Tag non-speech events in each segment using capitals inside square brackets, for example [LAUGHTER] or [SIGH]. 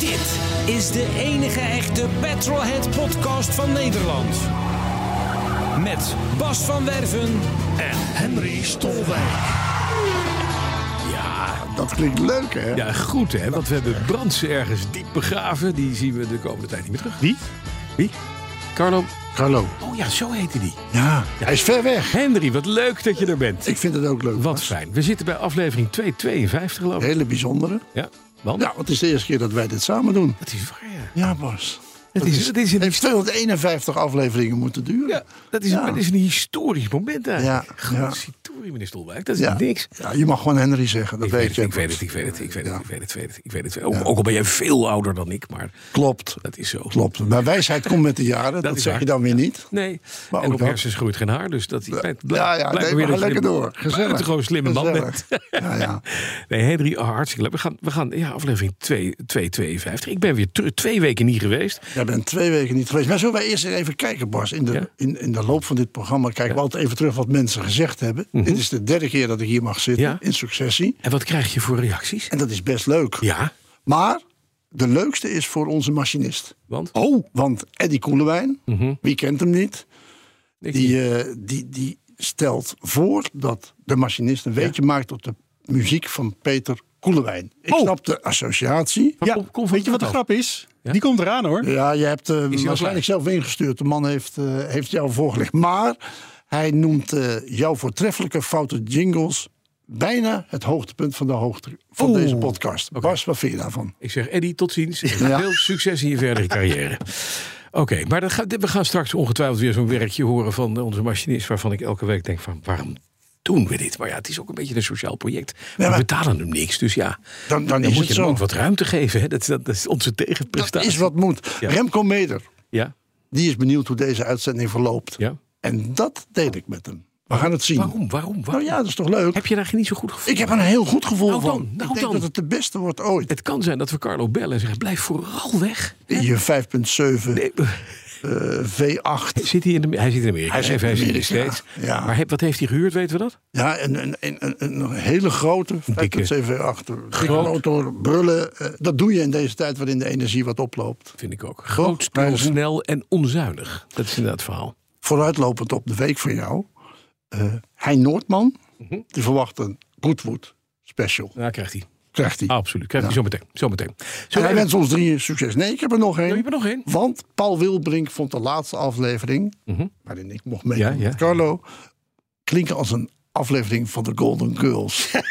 Dit is de enige echte Petrolhead podcast van Nederland. Met Bas van Werven. Henry Stolwijk. Dat klinkt leuk, hè? Ja, goed hè, want we hebben Brandsen ergens diep begraven. Die zien we de komende tijd niet meer terug. Wie? Wie? Carlo, Carlo. Oh ja, zo heette die. Ja, hij is ver weg. Henry, wat leuk dat je er bent. Ik vind het ook leuk. Wat fijn. We zitten bij aflevering 252 geloof Een ik. hele bijzondere. Ja, want Ja, want het is de eerste keer dat wij dit samen doen. dat is waar ja. Ja, Bas. Dat is, dat is een, Heeft 251 afleveringen moeten duren. ja, dat is, Ja. dat is een historisch moment eigenlijk. Ja, Groot ja. historie, meneer Stolwijk. Dat is Ja. niks. Ja, je mag gewoon Henry zeggen. Dat Ik weet, weet, het, je. ik weet het, ik weet het, ik weet het, ik weet het, ik weet het, ik weet het. Ook, ook al ben jij veel ouder dan ik, maar Klopt. dat is zo. Klopt. Maar wijsheid komt met de jaren. Dat, is zeg waar. je dan weer niet. Nee, Maar en ook op dat. hersens groeit geen haar, dus dat blijkt, Ja, ja. blijkt Nee, weer maar dat ga je lekker een door. Gezellig. buitengewoon slimme man Gezellig. bent. Ja, ja. [LAUGHS] Nee, Henry, oh, hartstikke leuk. We gaan, we gaan ja, aflevering 2 252. Ik ben weer ter- twee weken niet geweest. Jij bent twee weken niet geweest. Maar zullen wij eerst even kijken, Bas? In de, Ja. in, in de loop van dit programma kijken we altijd even terug wat mensen gezegd hebben. Dit is de derde keer dat ik hier mag zitten Mhm. Ja. in successie. En wat krijg je voor reacties? En dat is best leuk. Ja, Maar de leukste is voor onze machinist. want? Oh, want Eddie Koelewijn, wie kent hem niet, Mhm. Ik- die, eh, die, die stelt voor dat de machinist een weetje maakt op de muziek van Peter Koelewijn. Ik Oh. snap de associatie. Waar Ja, kom- kom weet je wat de vandaan? grap is? Ja? Die komt eraan hoor. Ja, je hebt eh al waarschijnlijk zelf ingestuurd. De man heeft, eh, heeft jou voorgelegd. Maar hij noemt eh, jouw voortreffelijke foute jingles bijna het hoogtepunt van, de hoogte, van Oeh. deze podcast. Bas, wat vind je daarvan? Ik zeg Eddy, tot ziens. Ja. Veel succes in je [LAUGHS] verdere carrière. Oké, maar dat gaat- we gaan straks ongetwijfeld weer zo'n werkje horen van eh, onze machinist... waarvan ik elke week denk van, waarom doen we dit? Maar ja, het is ook een beetje een sociaal project. We maar- betalen hem niks, dus ja. Dan, dan, Dan is moet het je hem zo. ook wat ruimte geven. Hè? Dat, is- dat, dat is onze Dat tegenprestatie. is wat moet. Ja. Remco Meder, Ja, die is benieuwd hoe deze uitzending verloopt. ja. En dat deel ik met hem. We gaan het zien. Waarom, waarom, Nou waarom? ja, dat is toch leuk? Heb je daar niet zo goed gevoel? Ik heb er een heel goed gevoel Nou dan, van. nou ik denk dan. dat het de beste wordt ooit. Het kan zijn dat we Carlo bellen en zeggen, blijf vooral weg. Je 5.7 Nee, [LAUGHS] eh, V8. Zit hij, in de, hij zit in Amerika. Hij zit in Even, hij Amerika, nog steeds. ja. Maar heb- wat heeft hij gehuurd, weten we dat? Ja, een, een, een, een, een hele grote, 5.7 dikke. achter. Dikke motor, brullen. eh, dat doe je in deze tijd waarin de energie wat oploopt. Vind ik ook. Groot, stil, prijzen. snel en onzuinig. Dat is inderdaad het verhaal. Vooruitlopend op de week voor jou. eh hein Noordman, Mhm. die verwacht een Goodwood special. Ja, krijgt hij. Krijgt hij. Ah, Absoluut. Krijgt hij zometeen. Zometeen. En Zullen hij we even- wenst ons drieën succes. Nee, ik heb er nog één. Oh, je hebt er nog één? Want Paul Wilbrink vond de laatste aflevering, waarin ik mocht mee Mhm. Ja, ja. met Carlo, klinken als een aflevering van de Golden Girls. [LAUGHS]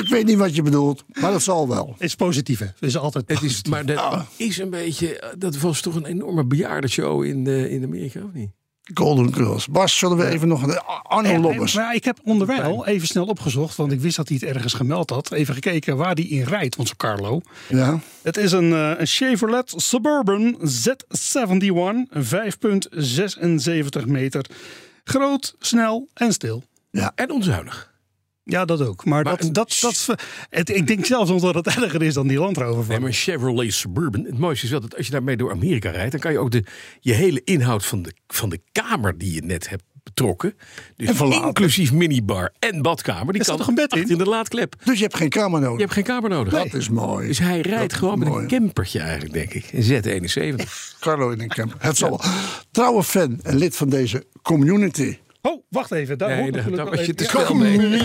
ik weet niet wat je bedoelt, maar dat zal wel. Het is positief hè. Het is altijd Het is, maar dat is een beetje. eh, Dat was toch een enorme bejaardenshow in, eh, in Amerika, of niet? Golden Girls. Bas, zullen we even nog... een- Arno En- en- Lobbes. maar ik heb onderwijl even snel opgezocht, want ik wist dat hij het ergens gemeld had. Even gekeken waar die in rijdt, onze Carlo. Ja. Het is een, eh, een Chevrolet Suburban Z71, 5,76 meter. Groot, snel en stil. En onzuinig. Ja, dat ook. Maar, Maar dat, een- dat, dat, is- het, ik denk zelfs nog dat het erger is dan die Land Rover. Nee, Van. maar Chevrolet Suburban. Het mooiste is wel dat als je daarmee door Amerika rijdt, dan kan je ook de, je hele inhoud van de, van de kamer die je net hebt betrokken. Dus En verlaten. inclusief minibar en badkamer. Die Er staat kan toch een bed in? achter de laadklep. Dus je hebt geen kamer nodig. Je hebt geen kamer nodig. Dat is mooi. Dus hij Dat rijdt is gewoon met mooi. een campertje eigenlijk, denk ik. Een Z71. Carlo in een camper. Het zal wel. Trouwe fan en lid van deze community. Oh, wacht even. Daar Nee, hoort daar- natuurlijk daar wel was je even-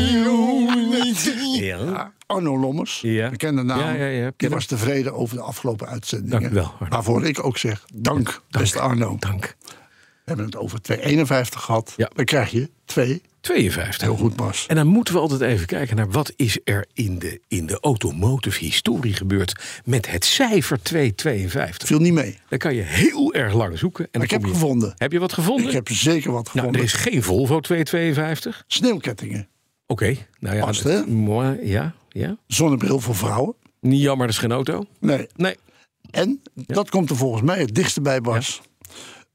te snel mee. Ja. [LAUGHS] Ja, Arno Lommers, Ja. bekende naam. Ja, ja, ja, die bekende. was tevreden over de afgelopen uitzendingen. Dank u wel, Arno. Waarvoor ik ook zeg, dank, beste Arno. Dank. We hebben het over 251 gehad. Ja. Dan krijg je twee. 52. Heel goed, Bas. En dan moeten we altijd even kijken naar wat is er in de, in de automotive historie gebeurd met het cijfer 252. Viel niet mee. Daar kan je heel erg lang zoeken. En dan ik heb kom je- gevonden. Heb je wat gevonden? Ik heb zeker wat nou, gevonden. er is geen Volvo 252. Sneeuwkettingen. Oké, nou ja. Past, dat- hè? mooi, ja, ja. Zonnebril voor vrouwen. Niet jammer, dat is geen auto. Nee. Nee. En dat komt er volgens mij het dichtste bij, Bas.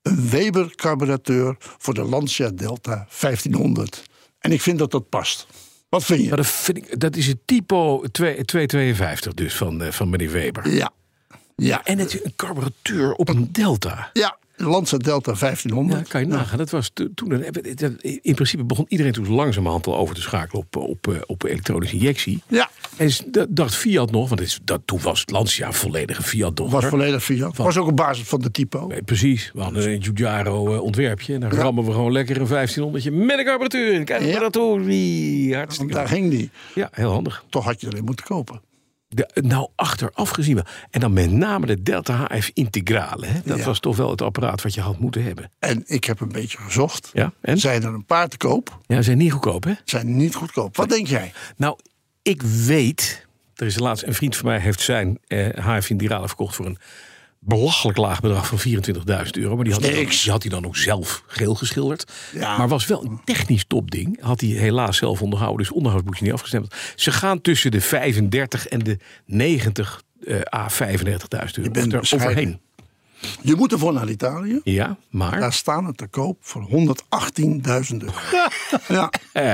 Een Weber carburateur voor de Lancia Delta 1500. En ik vind dat dat past. Wat vind je? Maar dat, vind ik, dat is het typo 2, 252 dus van, eh, van meneer Weber. Ja. Ja. En natuurlijk een carburateur op een Delta. Nou. Ja, Lancia Delta Ja, 1500. kan je nagaan. Dat was to- toen. een- In principe begon iedereen toen langzamerhand al over te schakelen op, op, eh, op elektronische injectie. Ja, En s- dat dacht Fiat nog, want het is, dat, toen was het Lancia volledige was Fiat-dochter. volledig Fiat. Was ook op basis van de typo. Nee, Eh, precies. We hadden een Giugiaro-ontwerpje. En dan rammen we gewoon lekker een 1500 met een carburateur in. Kijk, Ja. maar dat hoor. Wie, Want Hartstikke daar leuk. ging die. Ja, heel handig. Toch had je erin moeten kopen. De, nou, achteraf gezien wel. En dan met name de Delta HF Integrale. Hè? Dat Ja. was toch wel het apparaat wat je had moeten hebben. En ik heb een beetje gezocht. Ja, en? Zijn er een paar te koop? Ja, ze zijn niet goedkoop, hè? Zijn niet goedkoop. Wat denk jij? Nou, ik weet. Er is laatst een vriend van mij heeft zijn eh HF Integrale verkocht voor een belachelijk laag bedrag van 24.000 euro. Maar die had, hij dan, Niks. die had hij dan ook zelf geel geschilderd. Ja. Maar was wel een technisch topding. Had hij helaas zelf onderhouden, dus onderhoudsboekje niet afgestemd. Ze gaan tussen de 35 en de 90 a 35.000 euro. bent er bescheiden. overheen. Je moet ervoor naar Italië. Ja, maar. Daar staan het te koop voor 118.000 euro. ja, Eh,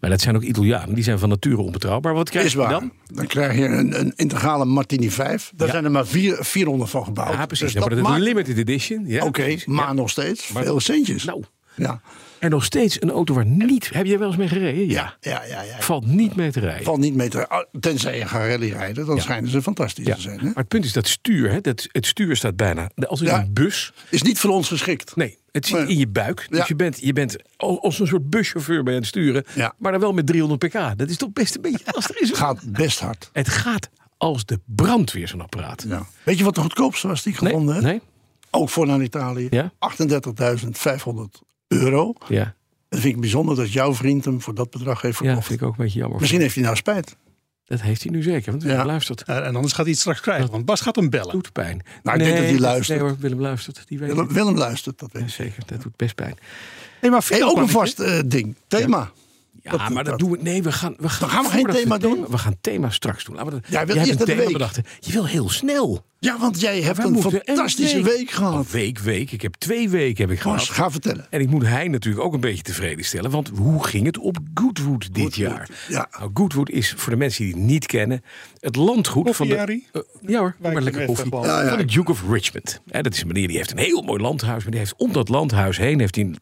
maar dat zijn ook Italianen, die zijn van nature onbetrouwbaar. Wat krijg is je waar. dan? Dan? krijg je een, een integrale Martini 5. Daar zijn er maar vier, 400 van gebouwd. Ja, Dus precies. dat dan wordt het een maakt- limited edition. Ja, Oké, precies. Ja. maar nog steeds Maar- veel centjes. Nou, Ja, en nog steeds een auto waar niet... Heb jij wel eens mee gereden? Ja. ja, ja. ja. Valt niet mee te rijden. Valt niet mee te... ah, Tenzij je gaat rally rijden, dan schijnen ze fantastisch ja. te zijn. Hè? Maar het punt is dat stuur, hè, dat, het stuur staat bijna als in Ja. een bus. Is niet voor ons geschikt. Nee, het zit Nee. in je buik. Dus Ja. je, bent, je bent al- als een soort buschauffeur bij aan het sturen. Ja. Maar dan wel met 300 pk. Dat is toch best een beetje [LAUGHS] lastig. Is het? Gaat best hard. het gaat als de brandweer zo'n apparaat. Ja. Weet je wat de goedkoopste was die ik Nee, gevonden heb? nee, Ook voor naar Italië. Ja. 38.500 euro. ja. Dat vind ik bijzonder dat jouw vriend hem voor dat bedrag heeft ja, verkocht. vind ik ook een beetje jammer. Misschien heeft hij nou spijt. Dat heeft hij nu zeker, want Willem Ja. luistert. Het Eh, en anders gaat hij het straks krijgen, want Bas gaat hem bellen. doet pijn. Nou, ik denk dat hij luistert. Nee hoor, Willem luistert. Die weet Willem, het. Willem luistert, dat weet Ja, ik. zeker, dat doet best pijn. Hey, maar Hey, Fiat ook kwam een ik, vast eh, ding. Thema. Ja, Dat- maar dat, dat- doen we... Nee, we gaan... We gaan, gaan we geen voordat we thema doen? We gaan thema straks doen. Laten we dat, Jij wil hebt eerst een de thema week. bedacht. hè? Je wil heel snel. Ja, want jij hebt Wij een moeten fantastische week, gehad. Oh, Een week, Oh. week. Ik heb twee weken heb ik Bas, gehad. ga vertellen. En ik moet hij natuurlijk ook een beetje tevreden stellen. Want hoe ging het op Goodwood dit jaar? ja. Nou, Goodwood is voor de mensen die het niet kennen... het landgoed van de... Koffie, Eh, ja hoor, doe maar Wij lekker kunnen koffie. even Ja, ja. Van de Duke of Richmond. Hè, dat is een meneer die heeft een heel mooi landhuis. Maar die heeft om dat landhuis heen heeft hij een,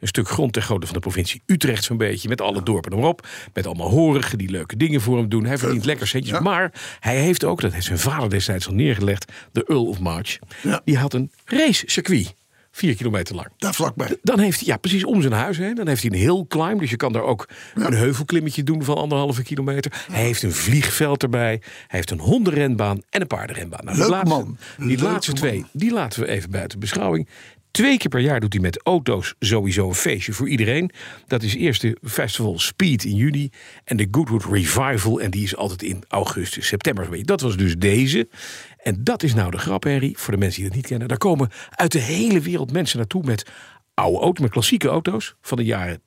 een stuk grond ter grootte van de provincie Utrecht zo'n beetje. Met alle dorpen erop. Met allemaal horigen die leuke dingen voor hem doen. Hij verdient lekker centjes. Maar hij heeft ook, dat heeft zijn vader destijds al neergelegd. De Earl of March. Ja. Die had een racecircuit. Vier kilometer lang. Daar vlakbij. Dan heeft hij, ja, precies om zijn huis heen. Dan heeft hij een heel climb. Dus je kan daar ook een heuvelklimmetje doen van anderhalve kilometer. Hij heeft een vliegveld erbij. Hij heeft een hondenrenbaan en een paardenrenbaan. Nou, die Leuk laatste- man. Die Leuk laatste man. twee, die laten we even buiten beschouwing. Twee keer per jaar doet hij met auto's sowieso een feestje voor iedereen. Dat is eerst de Festival Speed in juni en de Goodwood Revival. En die is altijd in augustus, september. zo'n beetje. Dat was dus deze. En dat is nou de grap, Harry, voor de mensen die dat niet kennen. Daar komen uit de hele wereld mensen naartoe met oude auto's, met klassieke auto's van de jaren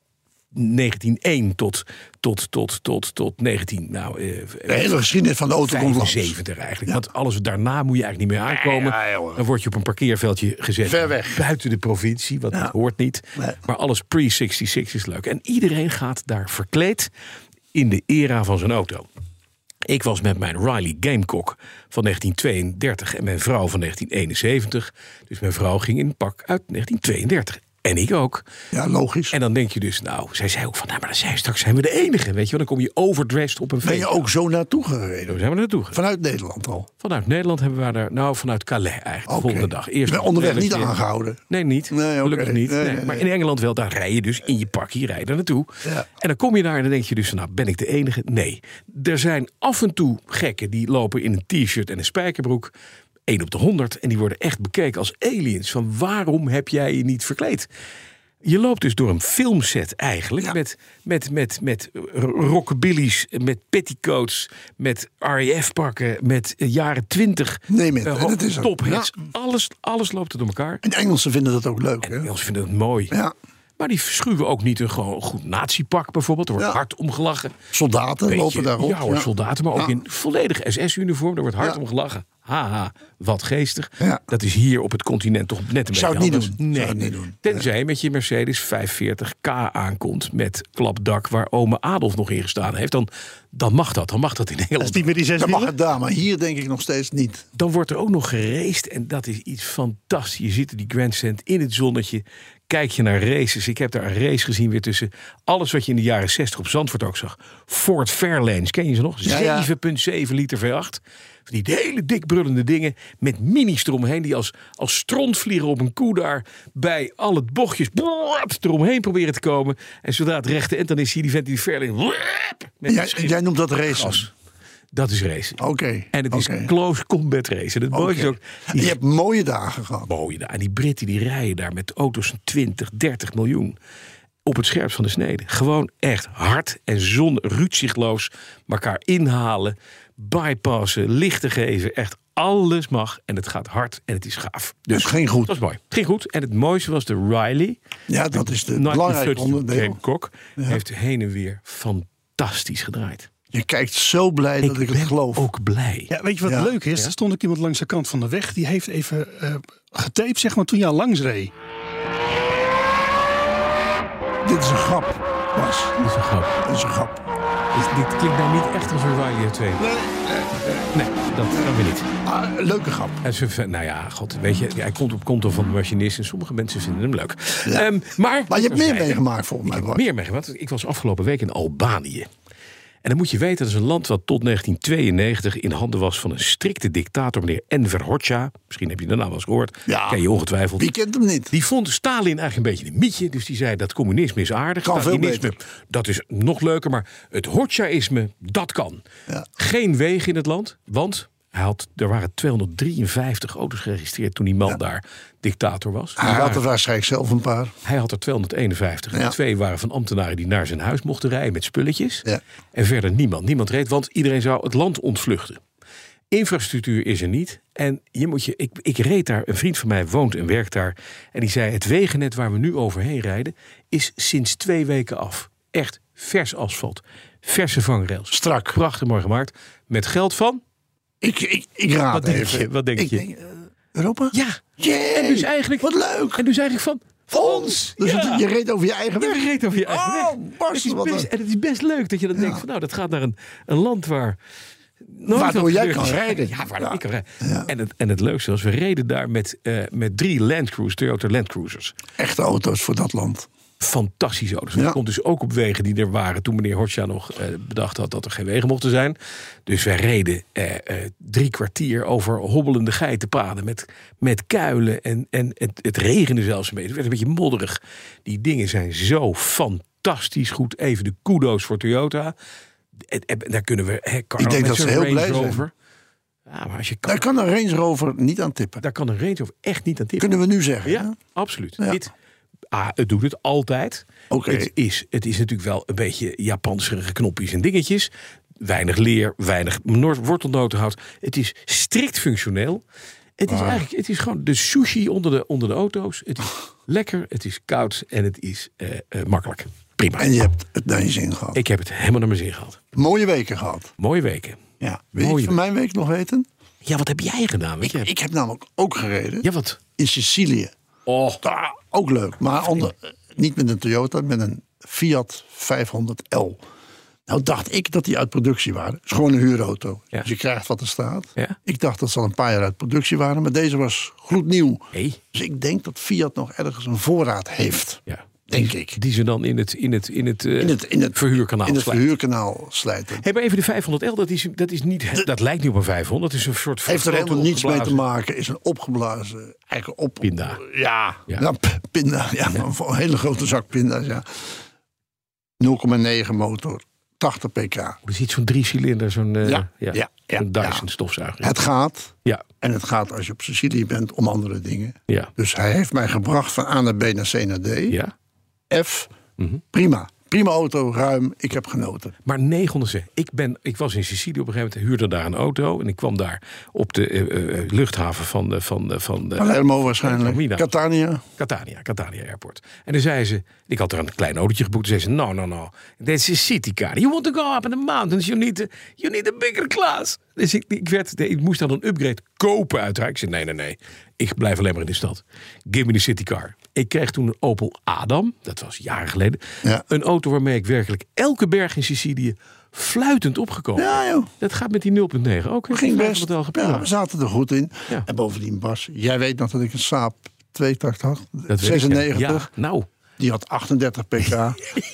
1901 tot, tot, tot, tot, tot 19... Nou, eh, De hele geschiedenis van de auto komt langs. 75 eigenlijk. Want alles daarna moet je eigenlijk niet meer aankomen. Ja, ja, jongen. dan word je op een parkeerveldje gezet. Ver weg. Buiten de provincie, want dat hoort niet. Nee. Maar alles pre-66 is leuk. En iedereen gaat daar verkleed in de era van zijn auto. Ik was met mijn Riley Gamecock van 1932 en mijn vrouw van 1971. Dus mijn vrouw ging in een pak uit 1932. En ik ook. Ja, logisch. En dan denk je dus, nou, zij zei ook van, nou, maar dan zijn, straks zijn we de enige. Weet je wel, dan kom je overdressed op een Ben feest. je ook zo naartoe Zo gereden? zijn we naartoe gegaan. Vanuit Nederland al. Vanuit Nederland hebben we daar, nou vanuit Calais eigenlijk, de Oké. volgende dag. Je bent nog onderweg niet redelijk- aangehouden. Nee, niet. Nee, oké. Gelukkig niet. Nee, Nee, nee, Maar nee. in Engeland wel, daar rij je dus in je pakje, rij je daar naartoe. Ja. En dan kom je daar en dan denk je dus, nou ben ik de enige? Nee. Er zijn af en toe gekken die lopen in een t-shirt en een spijkerbroek. 1 op de 100 en die worden echt bekeken als aliens. Van waarom heb jij je niet verkleed? Je loopt dus door een filmset eigenlijk. Met, met, met, met rockabilly's, met petticoats, met RAF-pakken, met eh, jaren 20. Neem het, eh, en ho- het is ook, tophits. Alles, alles loopt er door elkaar. En de Engelsen vinden dat ook leuk. En de Hè? Engelsen vinden het mooi. Ja. Maar die schuwen ook niet een gewoon goed natiepak bijvoorbeeld. Er wordt Ja. hard omgelachen. Soldaten Beetje- lopen daarop. Ja hoor, soldaten, maar ook Ja. in volledig SS-uniform. Daar wordt hard Ja. om gelachen. Haha, wat geestig. Ja. Dat is hier op het continent toch net een beetje het niet anders. doen. Nee. Zou het niet doen. Tenzij je met je Mercedes 540k aankomt met klapdak waar ome Adolf nog in gestaan heeft. Dan, dan mag dat, dan mag dat in Dat is Nederland. niet meer die zes Dat mag wielen. het daar, maar hier denk ik nog steeds niet. Dan wordt er ook nog gereced en dat is iets fantastisch. Je zit in die grandstand in het zonnetje. Kijk je naar races. Ik heb daar een race gezien weer tussen alles wat je in de jaren 60 op Zandvoort ook zag. Ford Fairlanes, ken je ze nog? Ja, ja. 7,7 liter V8. Van die hele dik brullende dingen met minis eromheen. Die als, als strontvliegen op een koe daar bij al het bochtjes brrrp, eromheen proberen te komen. En zodra het rechte end dan is hier die vent die Fairlane. brrrp, met Jij, een schip. jij noemt dat racen. Gas. Dat is racen. Oké. En het is oké, close combat race. En het mooie is oké. ook... En die Je hebt mooie dagen gehad. mooie daar. En die Britten die rijden daar met auto's van 20, 30 miljoen. Op het scherpst van de snede. Gewoon echt hard en zon rutzichtloos. Elkaar inhalen, bypassen, lichten geven. Echt alles mag. En het gaat hard en het is gaaf. Dus geen goed. Dat was mooi. Het ging goed. En het mooiste was de Riley. Ja, dat is het belangrijke 1930 onderdeel. James Kok heeft heen en weer fantastisch gedraaid. Je kijkt zo blij dat ik het ben geloof. ook blij. Ja, weet je wat Ja. leuk is? Er stond ook iemand langs de kant van de weg. Die heeft even eh getaped, zeg maar, toen je al langs reed. Dit is een grap, Bas. Dat is een grap. Dit is een grap. Dit, dit klinkt nou niet echt als een Riley 2. Nee, dat kan weer niet. Ah, leuke grap. En ze, van- nou ja, god, weet je, hij komt op konto van de machinist en sommige mensen vinden hem leuk. Ehm, maar, Maar je hebt meer Nee, meegemaakt volgens mij, Bas. Meer meegemaakt. want Ik was afgelopen week in Albanië. En dan moet je weten, dat is een land wat tot 1992 in handen was van een strikte dictator, meneer Enver Hoxha. Misschien heb je de naam wel eens gehoord. Ja. Ken je ongetwijfeld. Wie kent hem niet? Die vond Stalin eigenlijk een beetje een mietje. Dus die zei dat communisme is aardig. Kan veel Stalinisme, dat is nog leuker. Maar het Hoxhaïsme, dat kan. Ja. Geen wegen in het land. Want hij had, er waren 253 auto's geregistreerd toen die man daar dictator was. Hij Maar had er waarschijnlijk zelf een paar. hij had er 251. Ja. En twee waren van ambtenaren die naar zijn huis mochten rijden met spulletjes. Ja. En verder niemand. Niemand reed, want iedereen zou het land ontvluchten. Infrastructuur is er niet. En je moet je, ik, ik reed daar, een vriend van mij woont en werkt daar. En die zei: Het wegennet waar we nu overheen rijden is sinds twee weken af. Echt vers asfalt, verse vangrails. Strak. Prachtig mooi gemaakt. Met geld van? Ik, ik, ik raad Wat denk even. je? Wat denk ik je? Denk, eh, Europa? Ja. Jee, En dus eigenlijk, Wat leuk. En dus eigenlijk van. Voor ons! Dus Ja. het- je reed over je eigen Ja, weg. je reed over je eigen Oh, weg. barst, Het is wat best, een- en het is best leuk dat je dan denkt van nou, dat gaat naar een, een land waar... nooit Waardoor wat jij gebeurd kan is. rijden. Ja, waar Ja. ik kan rijden. En, het, en het leukste was, we reden daar met, eh, met drie Land Cruisers, Toyota Land Cruisers. Echte auto's voor dat land. Fantastische auto's. Ja. Dat komt dus ook op wegen die er waren toen meneer Hoxha nog eh, bedacht had dat er geen wegen mochten zijn. Dus wij reden eh, eh, drie kwartier over hobbelende geitenpaden met, met kuilen en, en het, het regende zelfs een beetje. Het werd een beetje modderig. Die dingen zijn zo fantastisch goed. Even de kudo's voor Toyota. En, en daar kunnen we... Hè, Carlo, Ik denk met dat ze zijn heel Range blij zijn. Rover. Ja, maar als je kan, Daar kan een Range Rover niet aan tippen. daar kan een Range Rover echt niet aan tippen. Kunnen we nu zeggen. hè? Ja, absoluut. Ja. Dit, ah, het doet het altijd. Oké. Het, is, het is natuurlijk wel een beetje Japanserige knopjes en dingetjes. Weinig leer, weinig noor- wortelnotenhout. Het is strikt functioneel. Het is eigenlijk het is gewoon de sushi onder de, onder de auto's. Het is lekker, het is koud en het is eh, eh, makkelijk. Prima. En je hebt het naar je zin gehad. Ik heb het helemaal naar mijn zin gehad. Mooie weken gehad. Mooie weken. Ja. Wil je Mooie het van mijn week nog weten? Ja, wat heb jij gedaan? Weet jij? Ik heb namelijk ook gereden Ja, wat? in Sicilië. Oh, Ah, ook leuk. Maar onder, eh, niet met een Toyota, met een Fiat 500L. Nou dacht ik dat die uit productie waren. Het is gewoon een huurauto. Ja. Dus je krijgt wat er staat. Ja. Ik dacht dat ze al een paar jaar uit productie waren. Maar deze was gloednieuw. hey. Dus ik denk dat Fiat nog ergens een voorraad heeft. Ja. Denk ik. Die ze dan in het, in het, in het, eh, In het, in het verhuurkanaal In het slijten. verhuurkanaal slijten. Hey, maar even de 500L, dat, is, dat, is niet, dat lijkt niet op een 500. Dat is een soort Heeft er grote helemaal niets mee te opgeblazen- maken. Is een opgeblazen, eigenlijk op... Pinda. Ja, Ja. ja. p- pinda. Ja, Een hele grote zak pinda's, ja. 0,9 motor, 80 pk. Er is iets van drie cilinder, zo'n eh, Ja, ja, ja, zo'n Dyson ja. stofzuiger. Het gaat, Ja, en het gaat als je op Sicilië bent, om andere dingen. ja, Dus hij heeft mij gebracht van A naar B naar C naar D. ja. F, prima. Prima auto, ruim. Ik heb genoten. Maar 900 cent. Ik, ben, ik was in Sicilië op een gegeven moment, huurde daar een auto. En ik kwam daar op de eh, eh, luchthaven van, eh, van, eh, van eh, Palermo waarschijnlijk. Taormina. Catania. Catania, Catania Airport. En toen zei ze, ik had er een klein autootje geboekt. Toen zei ze, no, no, no, that's a city car. You want to go up in the mountains, you need a, you need a bigger class. Dus ik, ik, werd, ik moest dan een upgrade kopen uiteraard. Ik zei, nee, nee, nee, ik blijf alleen maar in de stad. Give me the city car. Ik kreeg toen een Opel Adam, dat was jaren geleden. Ja. Een auto waarmee ik werkelijk elke berg in Sicilië fluitend opgekomen Ja, ben. Nou joh. Dat gaat met die 0,9 ook. Het ging best. Ja, we zaten er goed in. Ja. En bovendien, Bas, jij weet nog dat ik een Saab 280 had. Dat weet ik, ja. 96. Ja, nou, Die had 38 pk.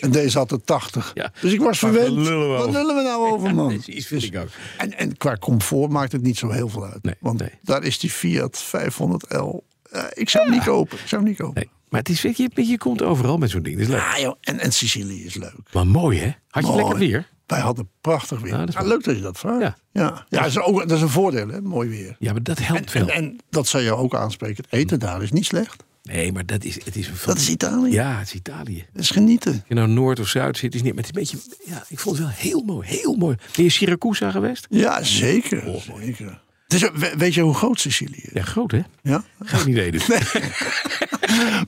en deze had er 80. Ja. Dus ik was Maar verwend. daar lullen we Wat over. lullen we nou over, [LAUGHS] man? precies, vind ik ook. En, en qua comfort maakt het niet zo heel veel uit. Nee, want nee. daar is die Fiat 500L. Eh, ik zou hem niet kopen. Ik zou hem niet kopen. Nee, maar het is, weet je, je komt overal met zo'n ding. Dat is leuk. Ah, joh. En, en Sicilië is leuk. Maar mooi, hè? Had je Mooi. lekker weer? Wij hadden prachtig weer. Ja, dat is Ah, waar. leuk dat je dat vraagt. Ja. Ja, ja. dat, is ook, dat is een voordeel, hè? mooi weer. Ja, maar dat helpt veel. En, en dat zou je ook aanspreken. Het eten daar is niet slecht. nee, maar dat is, het is een Dat is Italië. Ja, het is Italië. Dat is genieten. Als je nou Noord of Zuid zit, is niet. Maar het is een beetje. Ja, ik vond het wel heel mooi. Heel mooi. Ben je Syracuse geweest? Ja, zeker. Oh, zeker. Dus, we- weet je hoe groot Sicilië is? Ja, groot, hè? Ja? [LAUGHS] Geen idee dus.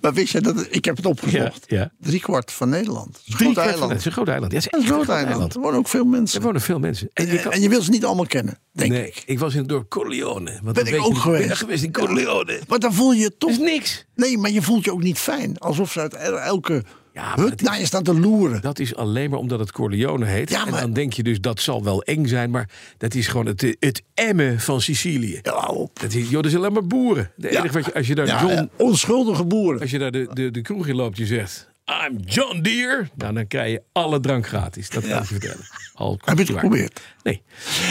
Maar wist je, dat, het- ik heb het opgezocht. Ja, ja. Drie kwart van Nederland. Het is een Drie groot kwart van- eiland. Het is een groot eiland. Ja, het is Het is echt een groot eiland. Er wonen ook veel mensen. Er wonen veel mensen. En, je kan- en je wil ze niet allemaal kennen, denk nee, ik. ik was in het dorp Corleone. Want Ben dan ik weet ook je- geweest. Ben ik geweest in Corleone. Maar dan voel je Dat toch... is niks. Nee, maar je voelt je ook niet fijn. Alsof ze uit el- elke Ja, maar hut het- naar je staan te loeren. Dat is alleen maar omdat het Corleone heet. Ja, En maar- dan denk je dus dat zal wel eng zijn, maar dat is gewoon het, het emmen van Sicilië. Ja, hou op. Dat is, joh, dat zijn alleen maar boeren. De enige wat je, als je daar Ja, John, ja, onschuldige boeren. als je daar de, de, de kroeg in loopt, je zegt I'm John Deere, nou, dan krijg je alle drank gratis. Dat kan ik je vertellen. Al [LAUGHS] Heb je het waar. geprobeerd? Nee.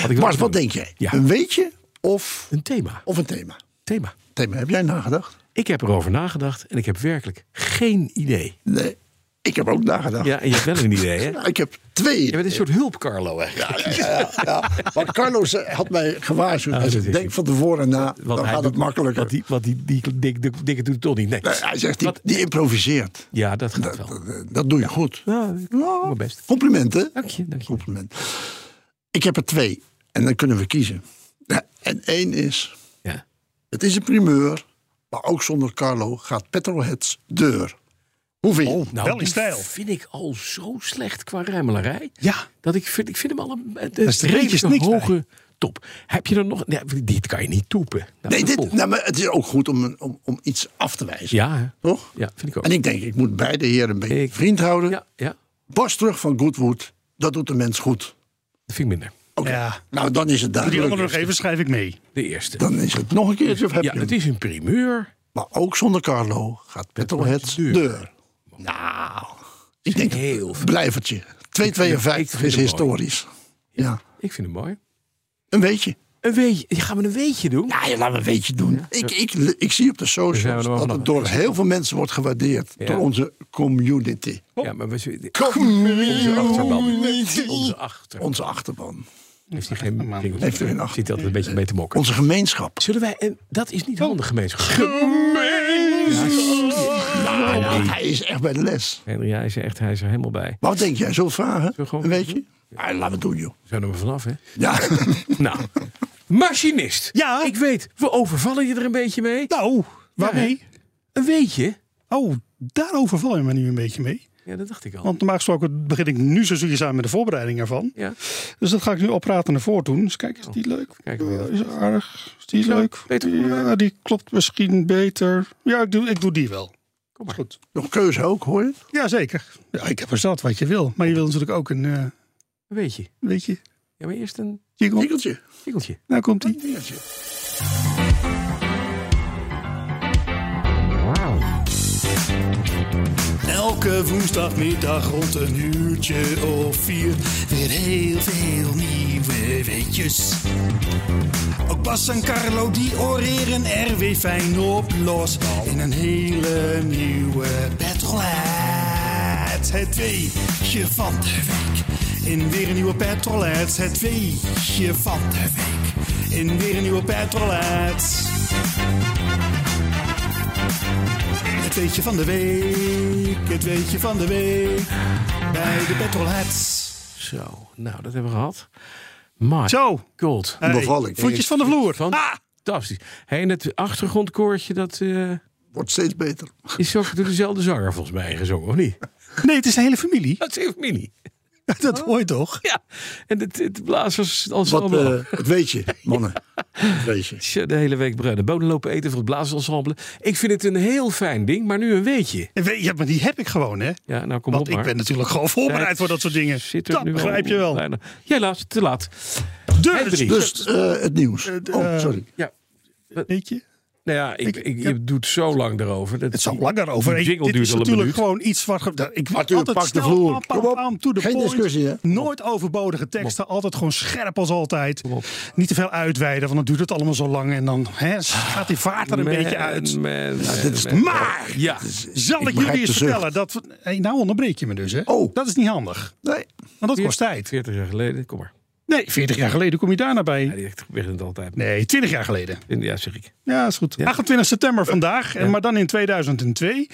Had ik wel Bas, wat doen. denk jij? Ja. Een weetje of, Een thema. of een thema? Thema. Thema, heb jij nagedacht? Ik heb erover nagedacht en ik heb werkelijk geen idee. Nee, ik heb ook nagedacht. Ja, en je hebt wel een idee, hè? [LAUGHS] Ja, ik heb twee. Je bent een soort hulp, Carlo, eigenlijk. Ja, ja. Want Carlos eh, had mij gewaarschuwd. Hij dat zegt, is denk van tevoren na, Want dan hij gaat het doet- makkelijker. Want die, want die, die, dik- dik- dikke doet het toch niet. Nee. Nee, hij zegt, die, Wat- die improviseert. ja, dat gaat Dat, wel. dat- eh, dat doe je goed. Ja, ik doe mijn best. Complimenten. Dank je, dank je. Compliment. Ik heb er twee. En dan kunnen we kiezen. Ja, En één is, Ja. het is een primeur. Maar ook zonder Carlo gaat Petrolheads deur. Hoe vind je? het? Nou, Wel in die stijl. vind ik al zo slecht qua ruimelarij. Ja. Dat ik vind, ik vind hem al een, een, is er redelijk netjes niks bij. hoge top. Heb je er nog... Nee, dit kan je niet toepen. Nou, Nee, de dit, volgende. nou, maar het is ook goed om, een- om, om iets af te wijzen. Ja, hè? Toch? ja, vind ik ook. En ik denk, ik moet beide heren een beetje Ik- vriend houden. ja, ja, Bas terug van Goodwood, dat doet de mens goed. dat vind ik minder. Oké. Ja. Nou, dan is het Die duidelijk. andere nog even schrijf ik mee. De eerste. Dan is het nog een keertje of heb ja, je het hem? is een primeur. Maar ook zonder Carlo gaat Petrolheads duur. deur. Nou, ik vind denk ik heel heel veel. blijvertje. 252 ik vind is het historisch. Ja. Ik vind hem mooi. Een weetje. Een weetje. Gaan we een weetje doen? Ja, ja, laten we een weetje doen. Ik, ik, ik zie op de Dan zijn we socials er wel dat vanaf. het door heel veel mensen wordt gewaardeerd. Ja. Door onze community. Ja, maar we, onze achterban. Community. Onze achterban. Onze achterban. Heeft hij [LAUGHS] geen jingle? Heeft er geen achter- Zit hij altijd een beetje mee te mokken. Onze gemeenschap. Zullen wij... En dat is niet handig, gemeenschap. Nou, hij is echt bij de les. Henry, hij is er echt hij is er helemaal bij. Maar wat denk jij? Zullen we vragen? we gewoon- Een weetje? Ja, laten we het doen, joh. We zijn er maar vanaf, hè? Ja. [LAUGHS] Nou, machinist. Ja. Ik weet, we overvallen je er een beetje mee. Nou, waarmee? Een weetje. Oh, daarover val je me nu een beetje mee. Ja, dat dacht ik al. Want normaal gesproken begin ik nu zo jullie samen met de voorbereiding ervan. Ja. Dus dat ga ik nu oppraten naar voren doen. Dus kijk, is die leuk? Eh, Kijk, hoe je dat is aardig. Is die leuk? Peter, kom maar. ja, die klopt misschien beter. Ja, ik doe, ik doe die wel. Kom maar. Goed. Nog keuze ook, hoor je? Jazeker. Ja, ik heb er zat wat je wil. Maar je wil natuurlijk ook een, eh, Een weetje. weet je, Ja, maar eerst een jingle. Tikkeltje. tikkeltje. Nou komt die. Tikkeltje. Elke woensdagmiddag rond een uurtje of vier. Weer heel veel nieuwe weetjes. Ook Bas en Carlo die oreren er weer fijn op los. In een hele nieuwe petrolhead. Het weetje van de week. In weer een nieuwe petrolhead. Het weetje van de week. In weer een nieuwe petrolhead. Het weetje van de week, het weetje van de week. Bij de Petrolheads. Zo, nou, dat hebben we gehad. Maar, Zo. God. Hey, Bevalling. voetjes van de vloer. Ah, Fantastisch. Hey, en het achtergrondkoortje, dat eh, Wordt steeds beter. is ook door dezelfde zanger volgens mij gezongen, of niet? nee, het is de hele familie. [LAUGHS] Dat is even mini. Oh. Dat hoor je toch? [LAUGHS] Ja, en het, het blazers als Wat, eh, het weet je, mannen. Het weet je. Tja, De hele week bruine bonen lopen eten voor het blazersensemble. Ik vind het een heel fijn ding, maar nu een weetje. En weet- Ja, maar die heb ik gewoon, hè? Ja, nou kom Want op maar. ik ben natuurlijk gewoon voorbereid voor dat soort dingen. Zit er Dat nu al begrijp je wel. bijna. Ja, laat, te laat. Dus, [LAUGHS] Hendrik. Dus eh, het nieuws. oh, sorry. Ja, weet je, nou ja, ik, ik, ik- je doet zo lang erover. Dat het zou langer over. Die Ik- jingle Dit duurt is al een natuurlijk minuut. gewoon iets wat. ge- Ik Arthur, altijd pak de snel, vloer. pam, pam, Kom op. pam, to the Geen point. discussie, hè? Nooit overbodige teksten. Altijd gewoon scherp als altijd. Niet te veel uitweiden, want dan duurt het allemaal zo lang. En dan hè, gaat die vaart er een Man, beetje uit. man, man, dit is man. Maar Ja, zal ik, begrijp jullie de eens zucht. vertellen dat. we- Hey, nou onderbreek je me dus, hè? Oh. Dat is niet handig. Nee. Want dat kost tijd. 40 jaar geleden, kom maar. Nee, 40 jaar geleden kom je daar naar Ja, bij. die begint het altijd. Nee, 20 jaar geleden. Ja, zeg ik. Ja, is goed. 28 september vandaag, en maar dan in 2002.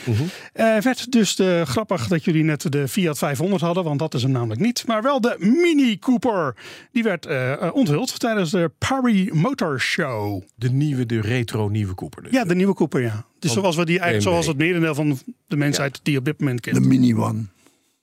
Eh, werd dus de, grappig dat jullie net de Fiat 500 hadden, want dat is hem namelijk niet. Maar wel de Mini Cooper. Die werd eh, eh, onthuld tijdens de Paris Motor Show. De nieuwe, de retro nieuwe Cooper dus. Ja, de nieuwe Cooper, ja. Dus zoals, we die, eigenlijk- BMW. zoals het merendeel van de mensheid die op dit moment kent. De mini-one.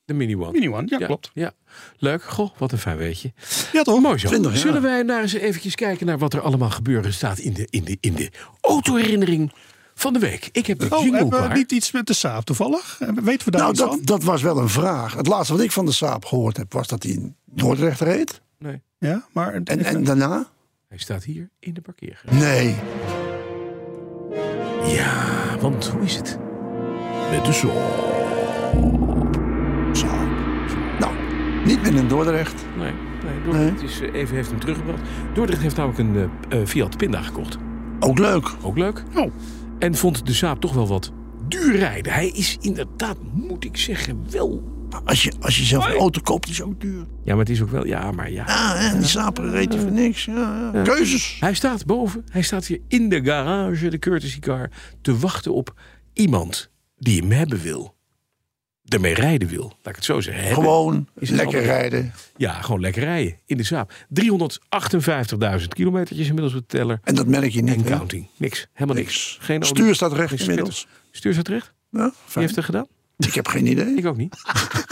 De mini one. Mini One, ja, Ja, klopt. Ja, leuk. Goh, wat een fijn weetje. Ja, toch? Mooi zo. 20 jaar. Zullen wij nou eens eventjes kijken naar wat er allemaal gebeuren staat in de, in de, in de autoherinnering van de week. Ik heb de Oh, jingle hebben we klaar. niet iets met de Saab toevallig? Eh, Weten we daar Nou, iets dat, van? dat was wel een vraag. Het laatste wat ik van de Saab gehoord heb, was dat hij in Dordrecht reed. Nee, Ja, maar En, en daarna? hij staat hier in de parkeergarage. Nee. Ja, want hoe is het? Met de zon. Saab. Nou, niet meer in Dordrecht. Nee, nee, Dordrecht is, eh, even heeft hem teruggebracht. Dordrecht heeft namelijk een eh, eh, Fiat Pinda gekocht. Ook leuk. Ook leuk. Oh. En vond de Saab toch wel wat duur rijden. Hij is inderdaad, moet ik zeggen, wel... Als je, als je zelf een auto koopt, is ook duur. Ja, maar het is ook wel... Ja, maar ja. Ah, en die Saab reed hij voor niks. Ja, ja. Keuzes. Hij staat boven, hij staat hier in de garage, de courtesy car, te wachten op iemand die hem hebben wil. Daarmee rijden wil, laat ik het zo zeggen. Hebben. Gewoon Is het lekker allemaal- rijden. Ja, gewoon lekker rijden in de Saab. 358.000 kilometertjes inmiddels op de teller. En dat merk je En niet. hè? counting. Niks, helemaal niks. Niks. Geen olie, Stuur staat recht geen inmiddels. schitters. Stuur staat recht? Wie Ja, Nou, fijn. heeft dat gedaan? Ik heb geen idee. Ik ook niet.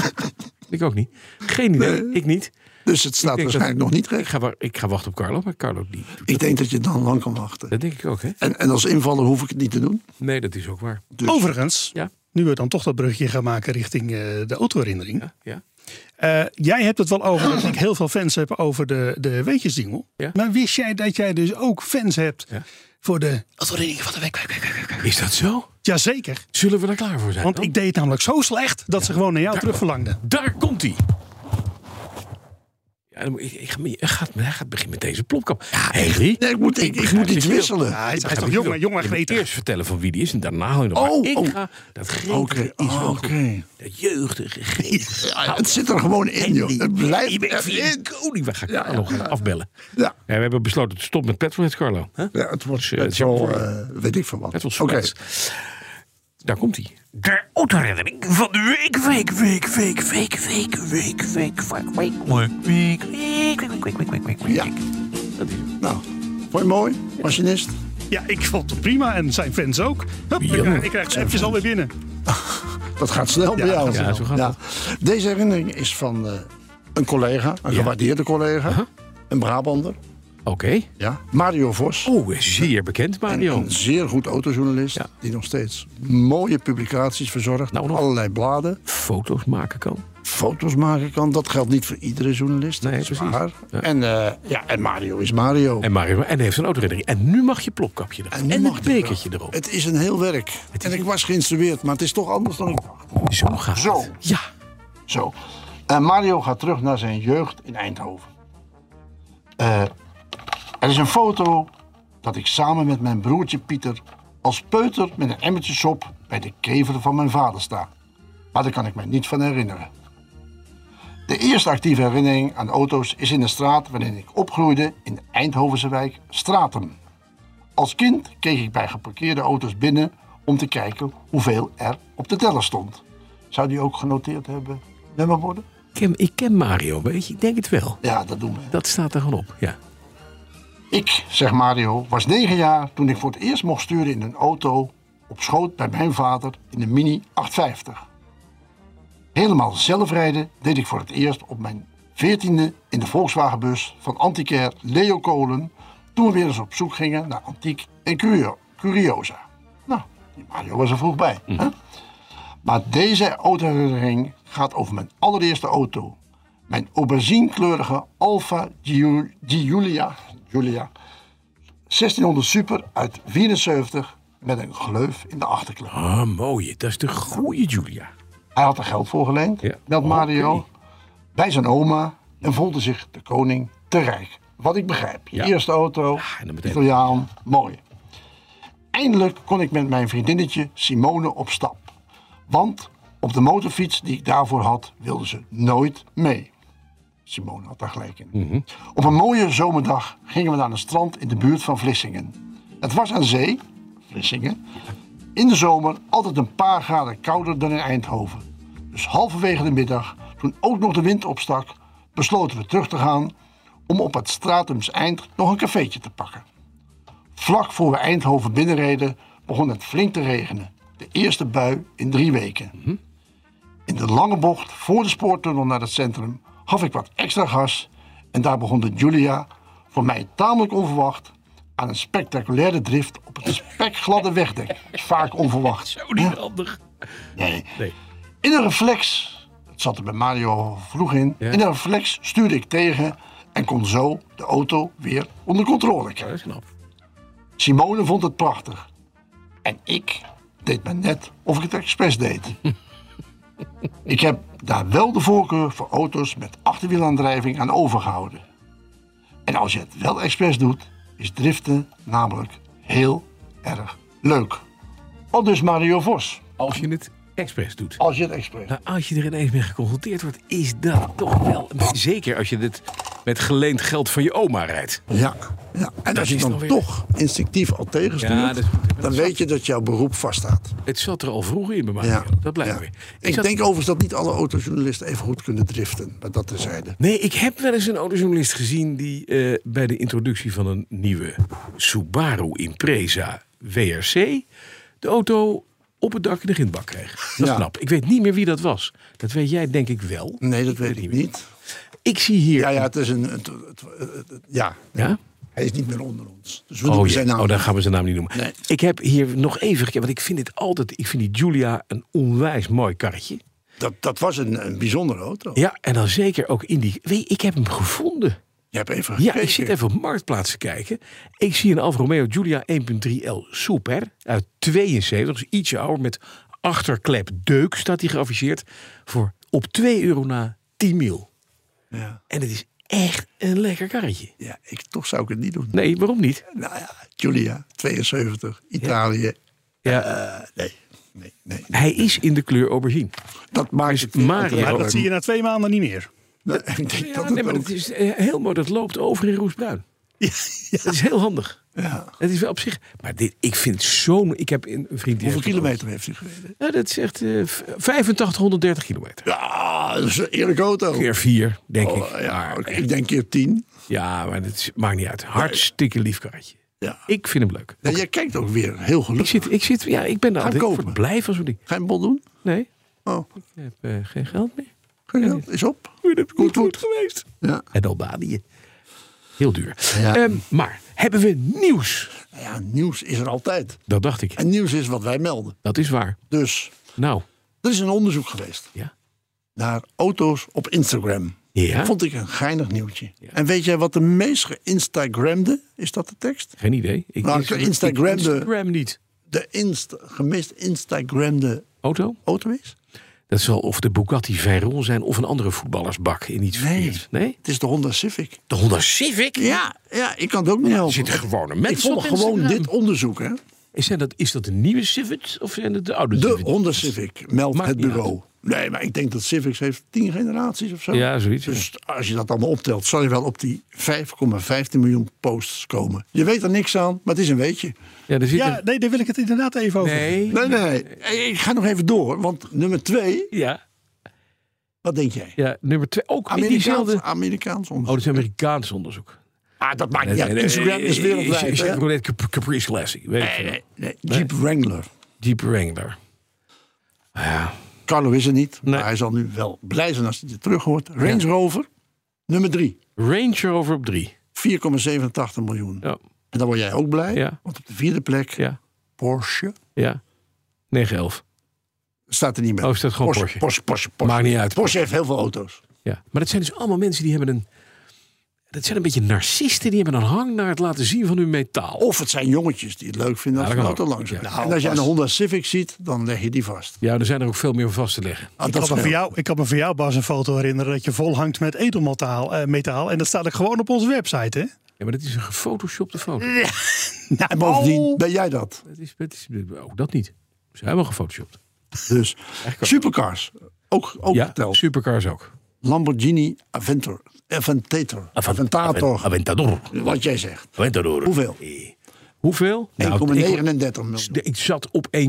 [LAUGHS] ik ook niet. Geen idee, ik niet. Dus het staat denk waarschijnlijk dat- nog niet Ik recht. ga, wa- ik ga wachten op Carlo, maar Carlo die doet. Ik denk dat je dan lang kan wachten. Dat denk ik ook, hè? En, en als invaller hoef ik het niet te doen. Nee, dat is ook waar. Overigens, Ja, nu we dan toch dat brugje gaan maken richting eh, de autoherinnering. ja. Eh, jij hebt het wel over dat ik heel veel fans heb over de, de weetjesdingel. Ja. Maar wist jij dat jij dus ook fans hebt Ja. voor de Oh, autoherinnering van de week? week, week, week, week? Is dat zo? Jazeker. Zullen we daar klaar voor zijn? Want dan? ik deed het namelijk zo slecht dat ze gewoon naar jou terug verlangden. Daar komt hij. Ja, dan moet ik, ik, ga me- hij gaat, hij gaat beginnen met deze plopkap. Henry, Nee, ik moet, ik, ik moet iets wisselen. hij is, hij is ga toch ik jong, wil- hè? jong en je moet gretig. eerst vertellen van wie die is en daarna hou je nog Oh, maar. Ik oh. ga dat gretige Oké, oh, is wel goed. oké. Dat jeugdige gretige. Ja, het zit er gewoon in, joh. Het Ik blijft ben erin. een koning. We gaan Carlo gaan afbellen. Ja. Ja, we hebben besloten te stoppen met petrolhead, Carlo. hè? Ja, het wordt Dus, het eh, het is zal, voor- eh, weet ik veel wat. Het was Oké. Frans. Daar komt hij. De autoherinnering van de week, week, week, week, week, week, week, week, week, week, week, week, week, week, week, week, week, week. Ja. Dat is hem. Nou, vond je het mooi? Machinist? Ja, ik vond het prima en zijn fans ook. Hup, ik, Jammer. ik krijg ze appjes alweer binnen. Dat gaat snel bij jou. snel. Ja, zo gaat Deze herinnering is van eh, een collega, een gewaardeerde collega. Een Brabander, Oké. ja. Mario Vos. Oh, zeer bekend, Mario. Een zeer goed autojournalist Ja. die nog steeds mooie publicaties verzorgt. Nou, op nog. allerlei bladen. Foto's maken kan. foto's maken kan. Dat geldt niet voor iedere journalist. Nee, dat is precies. waar. Ja. En, eh, ja, en Mario is Mario. En Mario en heeft een autoherinnering. En nu mag je plopkapje erop. En, nu mag het dit bekertje wel. erop. Het is een heel werk. Het is- En ik was geïnstrueerd, maar het is toch anders dan ik dacht. Zo gaat het. Zo. Ja. Zo. En Mario gaat terug naar zijn jeugd in Eindhoven. Eh, er is een foto dat ik samen met mijn broertje Pieter als peuter met een emmertje sop bij de kever van mijn vader sta. Maar daar kan ik me niet van herinneren. De eerste actieve herinnering aan auto's is in de straat waarin ik opgroeide in de Eindhovense wijk Stratum. Als kind keek ik bij geparkeerde auto's binnen om te kijken hoeveel er op de teller stond. Zou die ook genoteerd hebben nummerborden? Ik ken, ik ken Mario, weet je. Ik denk het wel. Ja, dat doen we. Dat staat er gewoon op, ja. Ik, zegt Mario, was negen jaar toen ik voor het eerst mocht sturen in een auto op schoot bij mijn vader in de Mini 850. Helemaal zelf rijden deed ik voor het eerst op mijn veertiende in de Volkswagenbus van antiquaire Leo Kolen toen we weer eens op zoek gingen naar antiek en curio- curiosa. Nou, die Mario was er vroeg bij. Hè? Maar deze autoherinnering gaat over mijn allereerste auto. Mijn auberginekleurige Alfa Giu- Giulia, Giulia 1600 Super uit 74 met een gleuf in de achterklep. Ah, mooie. Dat is de goede Julia. Hij had er geld voor geleend, Ja. Oh, meldt Mario, Oké. bij zijn oma en voelde zich de koning te rijk. Wat ik begrijp. Je Ja. Ah, eerste auto, en dan meteen- Italiaan, mooi. Eindelijk kon ik met mijn vriendinnetje Simone op stap. Want op de motorfiets die ik daarvoor had, wilde ze nooit mee. Simone had daar gelijk in. Mhm. Op een mooie zomerdag gingen we naar een strand in de buurt van Vlissingen. Het was aan zee, Vlissingen, in de zomer altijd een paar graden kouder dan in Eindhoven. Dus halverwege de middag, toen ook nog de wind opstak, besloten we terug te gaan om op het Stratums Eind nog een cafeetje te pakken. Vlak voor we Eindhoven binnenreden begon het flink te regenen. De eerste bui in drie weken. In de lange bocht voor de spoortunnel naar het centrum gaf ik wat extra gas en daar begon de Julia, voor mij tamelijk onverwacht, aan een spectaculaire drift op het spekgladde wegdek. Dat is vaak onverwacht. Zo niet Oh, handig. Nee. Nee. In een reflex, het zat er bij Mario vroeg in, in een reflex stuurde ik tegen en kon zo de auto weer onder controle Dat krijgen. is knap. Simone vond het prachtig. En ik deed maar net of ik het expres deed. ik heb daar wel de voorkeur voor auto's met achterwielaandrijving aan overgehouden. En als je het wel expres doet, is driften namelijk heel erg leuk. Al dus Mario Vos, Als je het expres doet. als je het expres Nou, als je er ineens mee geconfronteerd wordt, is dat toch wel... Zeker als je dit met geleend geld van je oma rijdt. Ja, ja. en als je is dan dan weer- toch instinctief al tegenstuurt, Ja, dat is goed. Dat dan is weet je dat jouw beroep vaststaat. Het zat er al vroeger in bij mij. Ja. Ah, Dat blijkt ja. weer. Ik, Ik zat- denk overigens dat niet alle autojournalisten even goed kunnen driften, maar dat terzijde. Nee, ik heb wel eens een autojournalist gezien die eh, bij de introductie van een nieuwe Subaru Impreza WRC de auto op het dak in de grindbak kreeg. Dat is Ja. knap. Ik weet niet meer wie dat was. Dat weet jij denk ik wel. Nee, dat weet ik niet. Ik zie hier... Ja, ja, het is een. het- het- het- het- ja, Ja? hij is niet meer onder ons. Dus we Oh, noemen ja. zijn naam. oh, dan gaan we zijn naam niet noemen. Nee. Ik heb hier nog even gekeken, want ik vind dit altijd... Ik vind die Giulia een onwijs mooi karretje. dat, dat was een, een bijzondere auto. Ja, en dan zeker ook in die... Weet, je, ik heb hem gevonden. Je hebt even Ja, gekeken. ik zit even op marktplaatsen kijken. Ik zie een Alfa Romeo Giulia 1.3L Super uit 72, dus ietsje ouder, met achterklep deuk staat hij geafficheerd voor op 2 euro na 10 mil. Ja. En het is echt een lekker karretje. Ja, ik, toch zou ik het niet doen. Nee, waarom niet? Nou ja, Giulia, 72, Italië. Ja, Eh, nee, nee, nee. hij is in de kleur aubergine. Dat maakt Dus het weer Mario- Maar uiteraard dat leuk. zie je na twee maanden niet meer. Nou, [LAUGHS] ik denk Ja, dat het nee, maar ook- het is eh, heel mooi. Dat loopt over in [LAUGHS] roesbruin. Dat is heel handig. Ja. Het is wel op zich. Maar dit, ik vind zo'n. Ik heb een vriend Hoeveel die. heeft een auto. kilometer heeft hij gereden? Ja, dat is echt eh, v- 8530 kilometer. Ja, dat is een eerlijke auto. Keer vier, denk Oh, ik. ja, maar, oké, ik denk keer tien. ja, maar het is- maakt niet uit. Hartstikke lief karretje. Ja. Ik vind hem leuk. En jij kijkt ook weer heel Ik gelukkig. zit, ik zit, ja, ik ben er altijd ik kopen. word blij van zo'n ding. Ga je een bol doen? Nee, Oh, ik heb eh, geen geld meer. geen geld. Is op. Goed, heb ik Goed, goed, goed goed. geweest. Ja. En Albanië. Heel duur. Ja. Ehm, maar hebben we nieuws? Nou Ja, nieuws is er altijd. Dat dacht ik. En nieuws is wat wij melden. Dat is waar. Dus Nou, er is een onderzoek geweest ja. naar auto's op Instagram. Ja, Vond ik een geinig nieuwtje. En weet jij wat de meest geïnstagramde, is dat de tekst? geen idee. Ik Nou, Insta- Instagram ik de- Instagram niet. De inst, gemist Instagramde Auto? auto is? Dat zal of de Bugatti Veyron zijn of een andere voetballersbak in iets verkeerds. Nee? Het is de Honda Civic. De Honda Civic? Ja, ja ik kan het ook niet helpen. zitten gewone Ik mensen op volg gewoon Instagram. dit onderzoek, hè. Is, zijn dat, is dat de nieuwe Civic of zijn dat de oude De Civic? Honda Civic meldt Maakt het niet bureau. Nee, maar ik denk dat Civics heeft tien generaties of zo. Ja, zoiets, ja. Dus als je dat allemaal optelt, zal je wel op die 5,15 miljoen posts komen. Je weet er niks aan, maar het is een weetje. Ja, er zit Ja, een- nee, daar wil ik het inderdaad even over. Nee. Nee, nee, nee. Ik ga nog even door, want nummer twee, Ja, wat denk jij? ja, nummer twee. Ook in Amerikaans, diezelfde... Amerikaans Oh, dat onderzoek. is Amerikaans onderzoek. ah, dat maakt niet uit. Instagram is Eh, eh, wereldwijd. hè? Chevrolet Cap- Caprice Classic. Weet ik Nee, veel. nee, nee. Jeep Wrangler. Jeep Wrangler. Ja. Carlo is er niet, Nee. maar hij zal nu wel blij zijn als hij dit terug hoort. Range Rover, nummer drie. Range Rover op drie. 4,87 miljoen. Ja, En dan word jij ook blij, Ja. want op de vierde plek, ja, Porsche, ja. 911. staat er niet meer. Oh, staat gewoon Porsche. Porsche, Porsche, Porsche. Maakt niet uit. Porsche heeft heel veel auto's. Ja. Maar dat zijn dus allemaal mensen die hebben een... Dat zijn een beetje narcisten. Die hebben een hang naar het laten zien van hun metaal. Of het zijn jongetjes die het leuk vinden als Ja, een dat auto kan ook. langs Ja. gaat. En als je een Honda Civic ziet, dan leg je die vast. Ja, er zijn er ook veel meer om vast te leggen. Ah, Ik kan, me scheelt. voor jou, ik kan me voor jou, Bas, een foto herinneren dat je vol hangt met edelmetaal. eh, metaal, en dat staat ook gewoon op onze website, hè? Ja, maar dat is een gefotoshopte foto. En bovendien ben jij dat. Dat is, dat is, ook dat niet. Ze hebben wel gefotoshopt. Dus supercars, ook, ook Ja, geteld. supercars ook. Lamborghini Aventator. Aventator. Aventator. Aventador. Wat jij zegt. Aventador. Eh. Hoeveel? Hoeveel? Nou, 1,39 ik, miljoen. ik zat op 1,38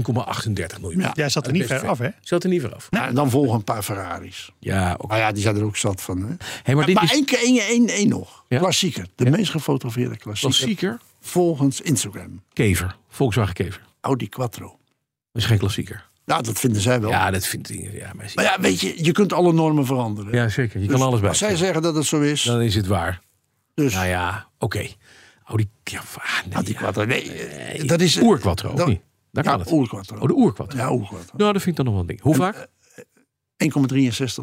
miljoen. Ja. Jij zat er Dat niet is ver best af, hè? Ik zat er niet vanaf. Ja, En dan volgen een paar Ferraris. Ja, ook. Maar ja, die zijn er ook zat van. Hè? Hey, maar dit maar is één, keer- één, één, één nog. Ja? Klassieker. De meest gefotografeerde klassieker. klassieker. Volgens Instagram. Kever. Volkswagen Kever. Audi Quattro. Dat is geen klassieker. Nou, dat vinden zij wel. Ja, dat vindt ja, maar Maar ja, weet je, je kunt alle normen veranderen. ja, zeker. Je Dus kan alles bij. Als zij zeggen dat het zo is, Dan is het waar. dus... Nou ja, oké. Audi, ja, ah, nee, Audi ja. Quattro. Nee, eh, Nee, dat is... Oerquattro, of dat- niet? Daar Ja, kan het. Oerquattro. Oh, de oerquattro. Ja, Oerquattro. Nou, dat vind ik dan nog wel een ding. Hoe vaak? 1,63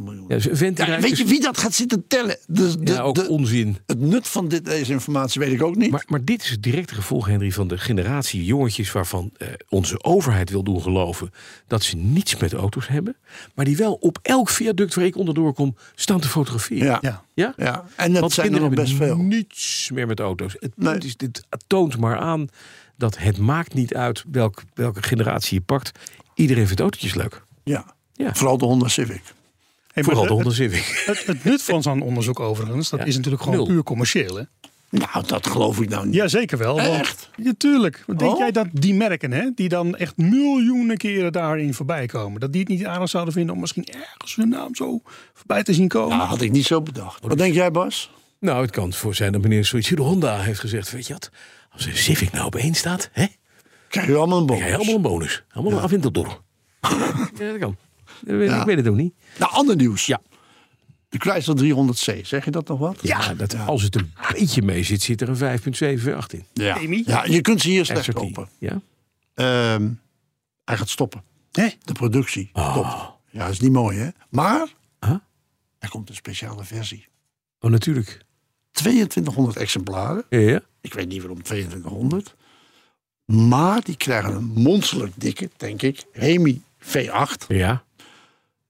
miljoen. Ja, dus een vent die Ja, rijdt weet je dus- wie dat gaat zitten tellen? De, de, Ja, ook de- onzin. het nut van dit, deze informatie weet ik ook niet. Maar, maar dit is het directe gevolg, Henry, van de generatie jongetjes... waarvan eh, onze overheid wil doen geloven dat ze niets met auto's hebben... maar die wel op elk viaduct waar ik onderdoor kom staan te fotograferen. ja. Ja. Ja. Ja? en dat Want zijn er nog kinderen best hebben veel. niets meer met auto's. Het Nee. punt is, dit toont maar aan dat het maakt niet uit welk, welke generatie je pakt. Iedereen vindt autootjes leuk. Ja. Ja. Vooral de Honda Civic. Hey, maar Vooral de het- Honda Civic. [LAUGHS] Het, het nut van zo'n onderzoek overigens, dat Ja. is natuurlijk gewoon Nul. puur commercieel. Hè? Nou, dat geloof ik nou niet. Jazeker wel. want- Echt? Ja, tuurlijk. Want Denk Oh. jij dat die merken, hè, die dan echt miljoenen keren daarin voorbij komen, dat die het niet aardig zouden vinden om misschien ergens hun naam zo voorbij te zien komen? Nou, had ik niet zo bedacht. Wat denk jij, Bas? Nou, het kan voor zijn dat meneer zoiets de Honda heeft gezegd. Weet je wat? Als een Civic nou op één staat, hè? Krijg je allemaal een bonus? Ja, helemaal een bonus. Helemaal een afwinteldorrel. [LAUGHS] ja, dat kan. Dat weet- Ja. Ik weet het ook niet. Nou, ander nieuws. Ja. De Chrysler 300C, zeg je dat oh, nog wat? Ja, dat, als het een beetje mee zit, zit er een 5.78 in. Ja. Amy? Ja, je kunt ze hier slecht SRT. kopen. Ja? Ehm, hij gaat stoppen. Hè? De productie Oh. stopt. Ja, is niet mooi, hè? Maar Huh? er komt een speciale versie. Oh, natuurlijk. 2200 exemplaren. Ja, ja. Ik weet niet waarom 2200. Maar die krijgen een monsterlijk dikke, denk ik, Hemi V8. ja.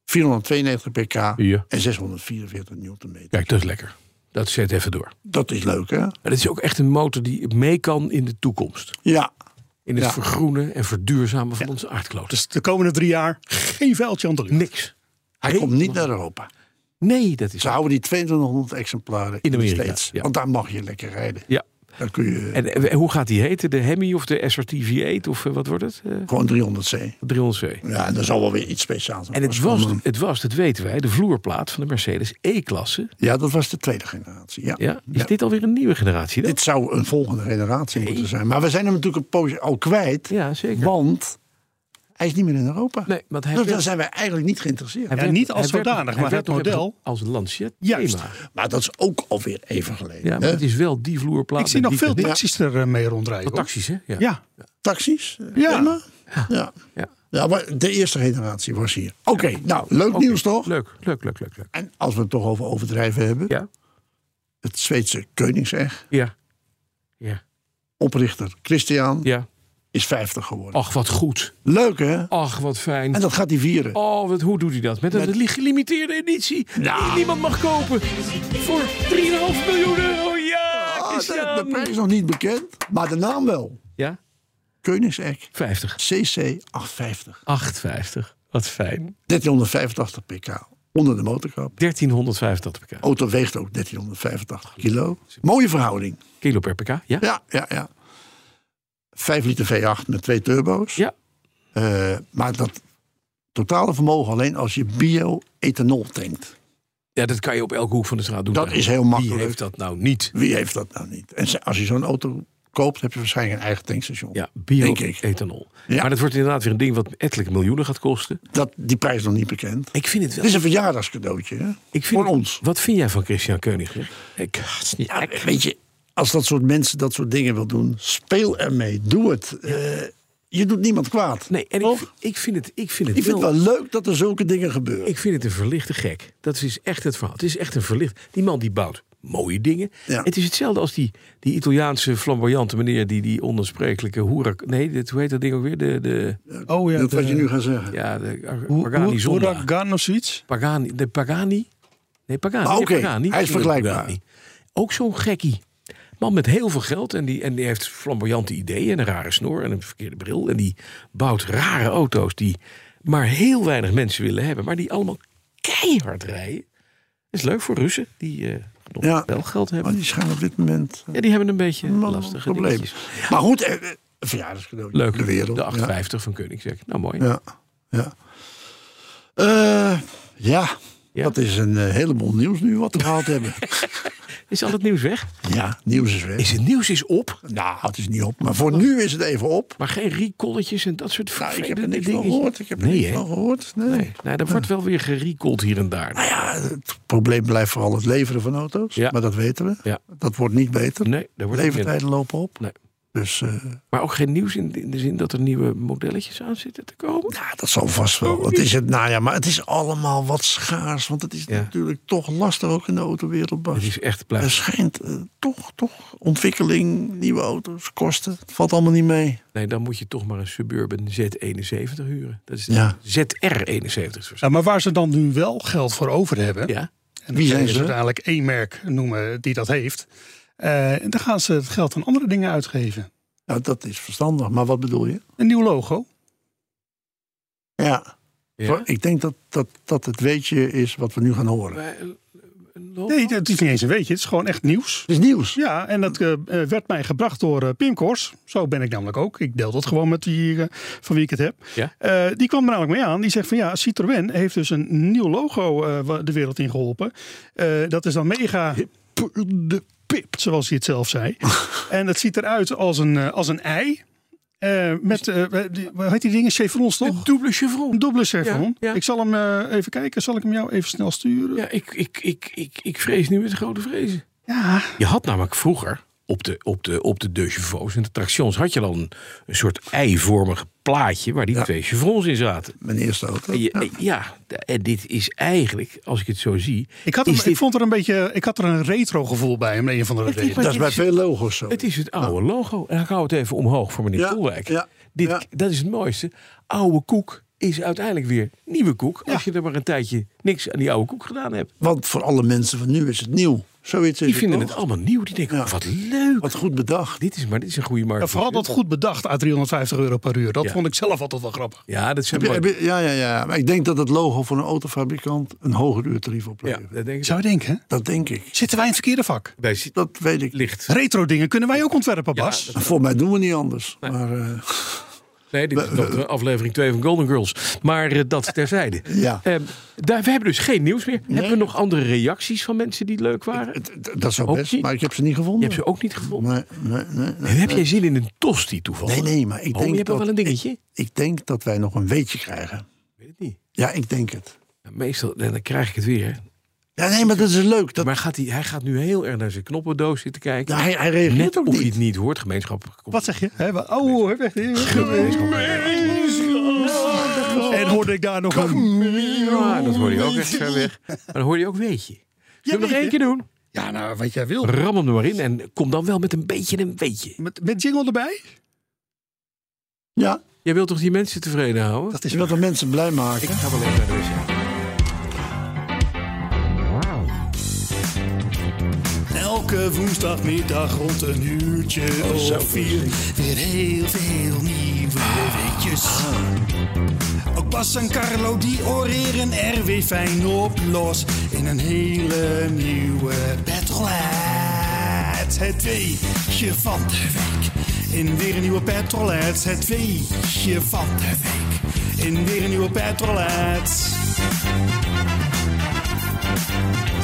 492 pk Ja. en 644 newtonmeter. Kijk, dat is lekker. Dat zet even door. Dat is leuk, hè? Maar dit is ook echt een motor die mee kan in de toekomst. Ja. In het Ja. vergroenen en verduurzamen van onze aardkloot. Dus de komende drie jaar geen vuiltje aan de lucht. niks. Hij komt niet naar Europa. Nee, dat is... Ze houden die 2200 exemplaren in de Amerika, States. ja. Want daar mag je lekker rijden. Ja. Dan kun je En, eh, hoe gaat die heten? De Hemi of de SRT V8 of eh, wat wordt het? Eh, gewoon 300C. 300C. Ja, en dat zal wel weer iets speciaals zijn. En het was, het was, dat weten wij, de vloerplaat van de Mercedes E-klasse. Ja, dat was de tweede generatie. Ja. Ja, is Ja. dit alweer een nieuwe generatie dan? Dit zou een volgende generatie moeten zijn. Maar we zijn hem natuurlijk een poosje al kwijt. Ja, zeker. Want hij is niet meer in Europa. Nee, want hij dus werd- daar zijn wij eigenlijk niet geïnteresseerd. Hij Ja, niet als hij werd- zodanig, hij maar werd het nog even model. Als Lancia Juist. thema. Maar dat is ook alweer even geleden. Ja, maar hè? het is wel die vloerplaat. Ik zie met nog veel die- taxis er eh, mee rondrijden. Wat hoor. Taxis, hè? Ja. Ja. Taxis? Ja. Ja. ja. Ja. Ja, maar de eerste generatie was hier. Oké, nou, leuk Oké, nieuws toch? Leuk, leuk, leuk, leuk. leuk. En als we het toch over overdrijven hebben. Ja. Het Zweedse Koningsegg, Ja. Ja. oprichter Christian, Ja. is 50 geworden. Ach, wat goed. Leuk hè? Ach, wat fijn. En dat gaat hij vieren. Oh, wat, hoe doet hij dat? Met een li- gelimiteerde editie Nou. die niemand mag kopen. Voor 3,5 miljoen euro. Ja, Ah, de, de Christian. prijs is nog niet bekend, maar de naam wel. Ja, Koningsegg 50. CC850. 8,50. Wat fijn. 1385 pk onder de motorkap. 1385 pk. Auto weegt ook 1385 Oh, kilo. Mooie verhouding. Kilo per pk, ja? Ja, ja, ja. 5 liter V8 met twee turbo's. Ja. Eh, maar dat totale vermogen alleen als je bio-ethanol tankt. Ja, dat kan je op elke hoek van de straat doen. Dat eigenlijk. is heel makkelijk. Wie heeft dat nou niet? Wie heeft dat nou niet? En ze- als je zo'n auto koopt, heb je waarschijnlijk een eigen tankstation. Ja, Denk ik. bio-ethanol. Ja. Maar dat wordt inderdaad weer een ding wat ettelijke miljoenen gaat kosten. Dus Dat, die prijs is nog niet bekend. Ik vind het wel... Het is een verjaardagscadeautje hè? ik vind, voor ons. Eh, Wat vind jij van Christian Koenig? Ik, ja, Weet je, als dat soort mensen dat soort dingen wil doen, speel ermee. Doe het. Eh, je doet niemand kwaad. nee, en ik, Toch? ik vind het, ik vind het ik vind wel... het wel leuk dat er zulke dingen gebeuren. Ik vind het een verlichte gek. Dat is echt het verhaal. Het is echt een verlicht. Die man die bouwt mooie dingen. Ja. Het is hetzelfde als die, die Italiaanse flamboyante meneer die die onuitsprekelijke hoerak. Nee, dit, hoe heet dat ding ook weer? De, de, Oh ja, dat wat de- je nu gaat zeggen. ja, de Ar- Hoe- Pagani hoe- zondag. Huracan of zoiets? Pagani, de Pagani. Nee, Pagani. Ah, nee, oké. Pagani. Hij is vergelijkbaar. Pagani. Ook zo'n gekkie. Man met heel veel geld en die, en die heeft flamboyante ideeën en een rare snor en een verkeerde bril. En die bouwt rare auto's die maar heel weinig mensen willen hebben, maar die allemaal keihard rijden. is leuk voor Russen die eh nog Ja. wel geld Maar hebben. die schijnen op dit moment eh, Ja, die hebben een beetje een lastige probleem. dingetjes. Maar goed, eh, eh, een verjaardagscadeautje. Leuk, De wereld. de ja. 850 van Koenigsegg. Nou, mooi. Ja, ja. Eh, ja. Ja. dat is een eh, heleboel nieuws nu wat we [LAUGHS] gehaald hebben. Is al het nieuws weg? Ja, nieuws is weg. Is het nieuws is op, Nou, het is niet op. Maar voor nu is het even op. maar geen recalletjes en dat soort Nou, ik heb vervelende er niks van dingetjes. gehoord. Ik heb er Nee, niks hè? van gehoord. Nee. Nee, nee dat wordt wel weer gerecalled hier en daar. Nou ja, het probleem blijft vooral het leveren van auto's. Ja. Maar dat weten we. Ja. Dat wordt niet beter. Nee, daar wordt niet minder. Levertijden lopen op. Nee. Dus eh, Maar ook geen nieuws in, in de zin dat er nieuwe modelletjes aan zitten te komen. nou, dat zal vast wel. Het is het najaar. Maar het is allemaal wat schaars. Want het is Ja. natuurlijk toch lastig ook in de autowereld. Bas. Het is echt Er blijft. schijnt eh, toch, toch ontwikkeling, nieuwe auto's, kosten. Het valt allemaal niet mee. Nee, dan moet je toch maar een Suburban Z71 huren. Dat is Ja. ZR71 is Ja, maar waar ze dan nu wel geld voor over hebben. Ja. En Wie dan zijn kun je ze? dus uiteindelijk één merk noemen die dat heeft. Eh, en dan gaan ze het geld aan andere dingen uitgeven. Nou, dat is verstandig. Maar wat bedoel je? Een nieuw logo. Ja. ja. Ik denk dat, dat, dat het weetje is wat we nu gaan horen. Het Wij- een- een logo? Nee, het is niet eens een weetje. Het is gewoon echt nieuws. is nieuws. Ja, en dat eh, eh, werd mij gebracht door eh, Pim Kors. Zo ben ik namelijk ook. Ik deel dat gewoon met wie, eh, van wie ik het heb. Ja. Eh, die kwam er namelijk mee aan. Die zegt van ja, Citroën heeft dus een nieuw logo eh, wa- de wereld in geholpen. Eh, dat is dan mega... De pip, zoals hij het zelf zei. [LAUGHS] en dat ziet eruit als een, eh, als een ei. Eh, met, eh, die- hoe heet die dingen? Chevrons Een toch? dubbele chevron. Een dubbele chevron. Ja, ja. Ik zal hem eh, even kijken. Zal ik hem jou even snel sturen? Ja, ik, ik, ik, ik, ik vrees nu het grote vrezen. ja. Je had namelijk vroeger op de, op de, op de deux chevaux en de tractions... had je dan een, een soort eivormig plaatje waar die twee chevrons in zaten. Mijn eerste auto. En je- en- ja, d- en dit is eigenlijk, als ik het zo zie... Ik, had hem, is dit- ik vond er een beetje, ik had er een retro gevoel bij, om een van de Het is redenen. maar- Dat is bij veel logo's zo. Het is het oude logo. En ik hou het even omhoog voor meneer Ja, Koelwijk. ja, Dit, ja. Dat is het mooiste. Oude koek is uiteindelijk weer nieuwe koek. Als je er maar een tijdje niks aan die oude koek gedaan hebt. Want voor alle mensen van nu is het nieuw. Zoiets is Die vinden toch? het allemaal nieuw. Die denken, Ja. wat leuk. Wat goed bedacht. Dit is, maar dit is een goede markt. Ja, vooral dat goed bedacht uit 350 euro per uur. Dat Ja. vond ik zelf altijd wel grappig. Ja, dat zijn Heb je- mooie- heb je- ja, ja, ja. Maar ik denk dat het logo voor een autofabrikant een hoger uurtarief Ja, oplevert. dat denk ik. Zou je denken, Dat denk ik. zitten wij in het verkeerde vak? Wij zitten Dat weet ik. Nou, licht. Retro dingen kunnen wij ook ontwerpen, Bas. Voor mij doen we niet anders. Maar eh, Nee, dit is nog de aflevering 2 van Golden Girls. Maar eh, dat terzijde. [LAUGHS] Ja. Ehm, daar, we hebben dus geen nieuws meer. Hebben we nog andere reacties van mensen die leuk waren? het- het- dat zou Ook best. niet. Maar ik heb ze niet Je gevonden. hebt ze ook niet gevonden. Nee, nee, nee, [LAUGHS] nee. Heb jij zin in een tosti toevallig? Nee, nee, maar ik oh, je denk hebt dat- wel een dingetje? Ik Ik denk dat wij nog een weetje krijgen. weet het niet. Ja, ik denk het. Ja, meestal, en dan krijg ik het weer. hè. Ja, nee, maar dat is leuk. Dat, Maar gaat hij, hij gaat nu heel erg naar zijn knoppendoos zitten kijken. Nou, hij, hij reageert Net ook of niet. hij het niet hoort, gemeenschap. Wat zeg je? Hè, wa- Oh, heb En hoorde ik daar nog een... Ja, dat hoor je ook echt ver weg. Maar dan hoor je ook weetje. Zullen we hem nog één keer doen? Ja, nou, wat jij wil. Ram hem er maar in en kom dan wel met een beetje een weetje. Met, met jingle erbij? Ja, Jij wilt toch die mensen tevreden houden? Dat is je wilt de mensen blij maken. ga wel even naar de wc. Elke Elke woensdagmiddag rond een uurtje Oh, zo of vier. Weer heel veel nieuwe weetjes. Ah. Ook Bas en Carlo die oreren er weer fijn op los. In een hele nieuwe petrolhead. Het weetje van de week. In weer een nieuwe petrolhead. Het weetje van de week. In weer een nieuwe petrolhead.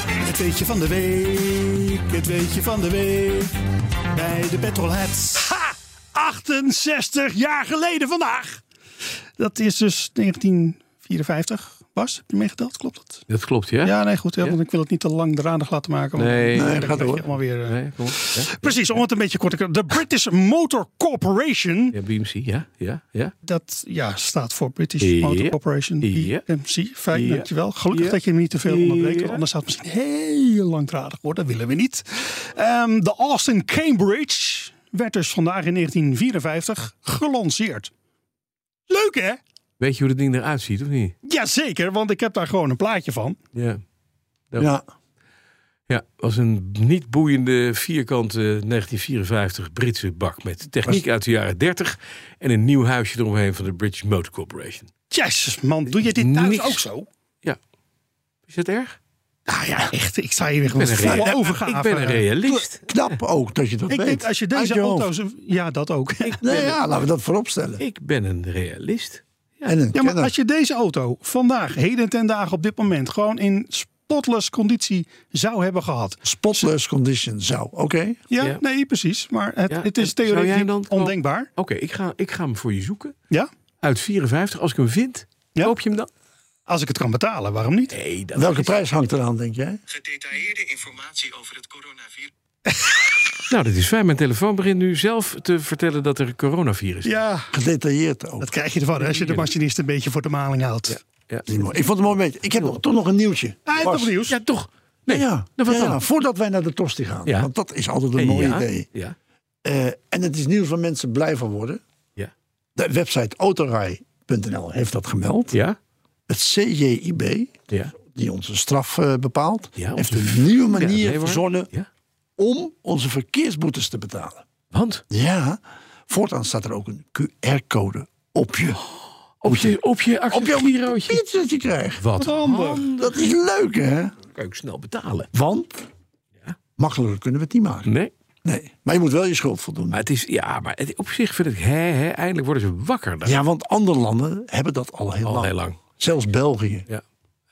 Het weetje van de week. Het weetje van de week. Bij de petrolheads. Ha! 68 jaar geleden vandaag. Dat is dus 1954. Bas, heb je meegeteld? Klopt dat? Dat klopt, ja? Ja, nee, goed. Ja, Ja. want ik wil het niet te lang dradig laten maken. want Nee. dan Nee, krijg gaat je door. Allemaal weer, eh. Nee, kom op. Ja, Precies, om het een beetje kort te De British Motor Corporation. ja, BMC, ja, ja, ja. Dat ja, staat voor British Ja. Motor Corporation. Ja. BMC. Fijn, Ja. dankjewel. Gelukkig Ja. dat je hem niet te veel onderbreekt. want Ja. Anders zou het misschien heel langdradig worden. Dat willen we niet. Ehm, de Austin Cambridge werd dus vandaag in 1954 gelanceerd. Leuk hè? Weet je hoe dat ding eruit ziet, of niet? Jazeker, want ik heb daar gewoon een plaatje van. Ja. Ja. Ja, was een niet boeiende vierkante 1954 Britse bak met techniek uit de jaren 30 en een nieuw huisje eromheen van de British Motor Corporation. Jezus man, doe je dit thuis Niks. ook zo? Ja. Is dat erg? Nou ja, echt. Ik sta hier weer Ik gewoon ben een, volle rea- overgave. ik ben een realist. Knap ook dat je dat Ik weet. denk als je Uit deze hoofd. auto's... [LAUGHS] Ja, dat ook. Nee, ja, laten we dat vooropstellen. Ik ben een realist. En een Ja, maar kenner. als je deze auto vandaag, heden ten dagen op dit moment... gewoon in spotless conditie zou hebben gehad. Spotless condition zou. Oké. Ja, Ja. nee, precies. Maar het, Ja, het is en zou jij theoretisch dan- ondenkbaar. Oké, ik, ga, ik ga hem voor je zoeken. Ja, Uit 54, als ik hem vind, Ja. koop je hem dan? als ik het kan betalen, waarom niet? Nee, dat Welke prijs hangt eraan, denk jij? Gedetailleerde informatie over het coronavirus. Nou, dat is fijn. Mijn telefoon begint nu zelf te vertellen dat er coronavirus is. Ja, Gedetailleerd ook. dat krijg je ervan hè, als je de machinist een beetje voor de maling houdt. Ja, Ja, Niet mooi. Ik vond het mooi beetje. Ik heb nog, toch nog een nieuwtje. hij heeft Bas. nog nieuws. ja toch? Nee, Ja, nou, wat ja, dan? ja, voordat wij naar de tosti gaan. Ja. Want dat is altijd een mooi ja, idee. Ja, Eh, en het is nieuws waar mensen blij van worden. ja. De website autorij.nl heeft dat gemeld. Ja, Het CJIB, ja. die onze straf eh, bepaalt, Ja, onze heeft een nieuwe manier nee, hoor. verzonnen Ja. om onze verkeersboetes te betalen. Want Ja, voortaan staat er ook een QR-code op je. op je, op je Op je actiegirootje. fiets dat je krijgt. Wat handig. Dat is leuk, hè? Kan ik snel betalen. Want makkelijker kunnen we het niet maken. Nee. Nee. Maar je moet wel je schuld voldoen. Maar het is, ja, maar het, op zich vind ik, hè, hè, eindelijk worden ze wakker. daar. Ja, want andere landen hebben dat al heel, Al lang. heel lang. Zelfs België. Ja.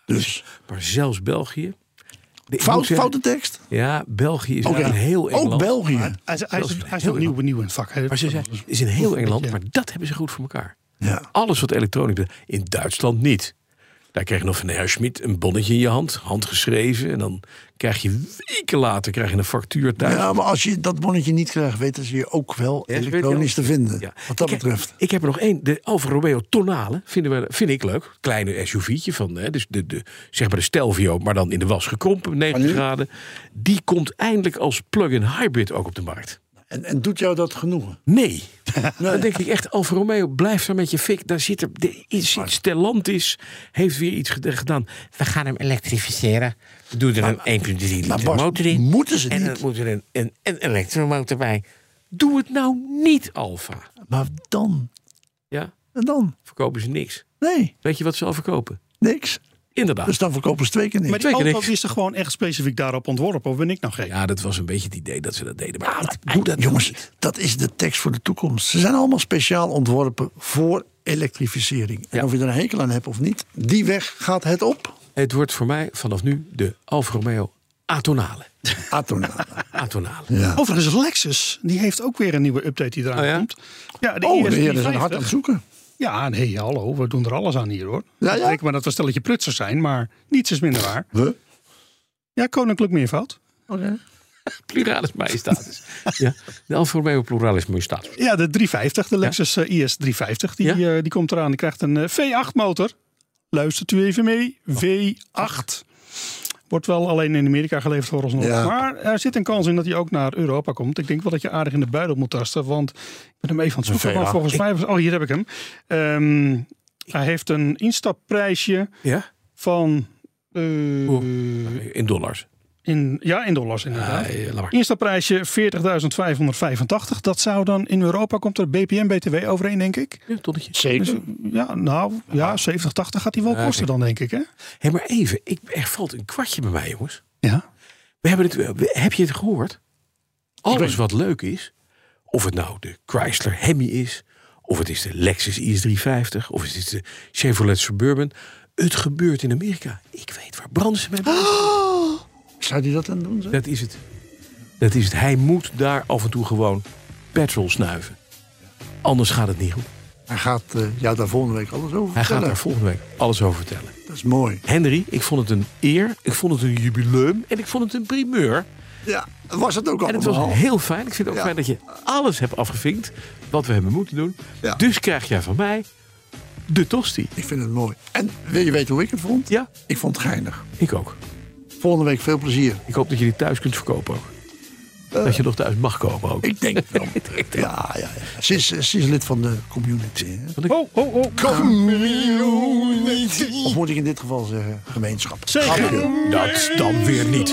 Dus Maar zelfs België. De- ik moet fout, zeggen- foute tekst. Ja, België is Oké. een heel eng Ook land. België. Hij is, hij is, Heel hij is nog nieuw, nieuw in het vak. hè. Maar ze zijn, is een heel eng land, maar dat hebben ze goed voor elkaar. Ja. Alles wat elektronisch betreft. In Duitsland niet. Daar krijg je nog van de heer Schmid een bonnetje in je hand, handgeschreven. En dan krijg je weken later krijg je een factuur thuis. Ja, maar als je dat bonnetje niet krijgt, weten ze je ook wel Ja, ze weten elektronisch te wel. vinden. Ja. Wat dat Ik heb- betreft. Ik heb er nog één. De Alfa Romeo Tonale vinden we, vind ik leuk. Kleine SUV'tje van hè, dus de, de, zeg maar de Stelvio, maar dan in de was gekrompen, 90 graden. Die komt eindelijk als plug-in hybrid ook op de markt. En, en doet jou dat genoegen? [LAUGHS] Nee. Dan denk ik echt, Alfa Romeo, blijf daar met je fik. Daar zit er, de, is, Stellantis heeft weer iets ged- gedaan. We gaan hem elektrificeren. We doen er een 1.3 Maar liter Bas, motor in. moeten ze En dan niet. moet er een, een, een elektromotor bij. Doe het nou niet, Alfa. Maar dan? Ja, En dan? verkopen ze niks. Nee, Weet je wat ze al verkopen? niks. Inderdaad. Dus dan verkopen ze twee keer niks. Maar die Twee keer auto niks. is er gewoon echt specifiek daarop ontworpen. Of ben ik nou gek? Ja, dat was een beetje het idee dat ze dat deden. Maar het- Doe dat, jongens, dat is de tekst voor de toekomst. Ze zijn allemaal speciaal ontworpen voor elektrificering. En Ja. of je er een hekel aan hebt of niet, die weg gaat het op. Het wordt voor mij vanaf nu de Alfa Romeo [LAUGHS] Atonale. Atonale. Atonale. Ja. Overigens, Lexus die heeft ook weer een nieuwe update die eraan Oh ja? komt. Ja, de E Oh, IS de E heren zijn hard aan 50. het zoeken. Ja, nee, hallo, we doen er alles aan hier hoor. Ja, ja? Ik denk maar dat we stelletje prutsers zijn, maar niets is minder waar. We? Ja, koninklijk meervoud. Pluralis majestatis. [LAUGHS] ja, de Alfa Romeo Pluralis majestatis. Ja, de 350, de Lexus eh, IS 350, die, Ja? eh, die komt eraan. Die krijgt een eh, V8 motor. Luistert u even mee, Oh. V8. Wordt wel alleen in Amerika geleverd vooralsnog. Ja. Maar er zit een kans in dat hij ook naar Europa komt. Ik denk wel dat je aardig in de buidel moet tasten. Want ik ben hem even aan het zoeken. Maar V8. volgens mij was... Oh, hier heb ik hem. Ehm, hij heeft een instapprijsje Ja? van... eh, In dollars. In, ja, in dollars inderdaad. Ah, ja, laat maar. Instaprijsje 40.585. Dat zou dan in Europa komt er BPM-BTW overheen, denk ik. Dus, Ja, tonnetje. Zeker. Ja, nou ja, 70, 80 gaat die wel kosten dan, denk ik. Hè? Hé, maar even. Ik, er valt een kwartje bij mij, jongens. Ja. We hebben het, we- heb je het gehoord? Alles wat leuk is, of het nou de Chrysler Hemi is, of het is de Lexus IS350, of het is de Chevrolet Suburban. Het gebeurt in Amerika. Ik weet waar Bransen mee bezig is. Zou die dat dan doen? zeg? Dat is het. Dat is het. Hij moet daar af en toe gewoon petrol snuiven. Anders gaat het niet goed. Hij gaat eh, jou daar volgende week alles over Hij gaat vertellen. daar volgende week alles over vertellen. Dat is mooi. Henry, ik vond het een eer. Ik vond het een jubileum. En ik vond het een primeur. Ja, was het ook En allemaal. het was heel fijn. Ik vind het ook Ja. fijn dat je alles hebt afgevinkt. Wat we hebben moeten doen. Ja. Dus krijg jij van mij de tosti. Ik vind het mooi. En wil je weten hoe ik het vond? Ja, Ik vond het geinig. ik ook. Volgende week veel plezier. Ik hoop dat je die thuis kunt verkopen ook. dat je nog thuis mag komen ook. Eh. Ik denk [LAUGHS] wel. ja, ja, ja. Ze is, ze is lid van de community. Hè? Oh, oh, oh. Of moet ik in dit geval zeggen gemeenschap. Zeker. Dat dan weer niet.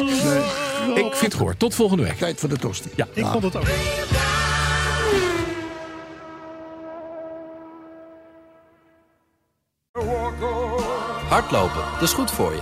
Ik vind het gehoord. Tot volgende week. Tijd voor de tosti. Ja. Ik vond het ook. Hardlopen, dat is goed voor je.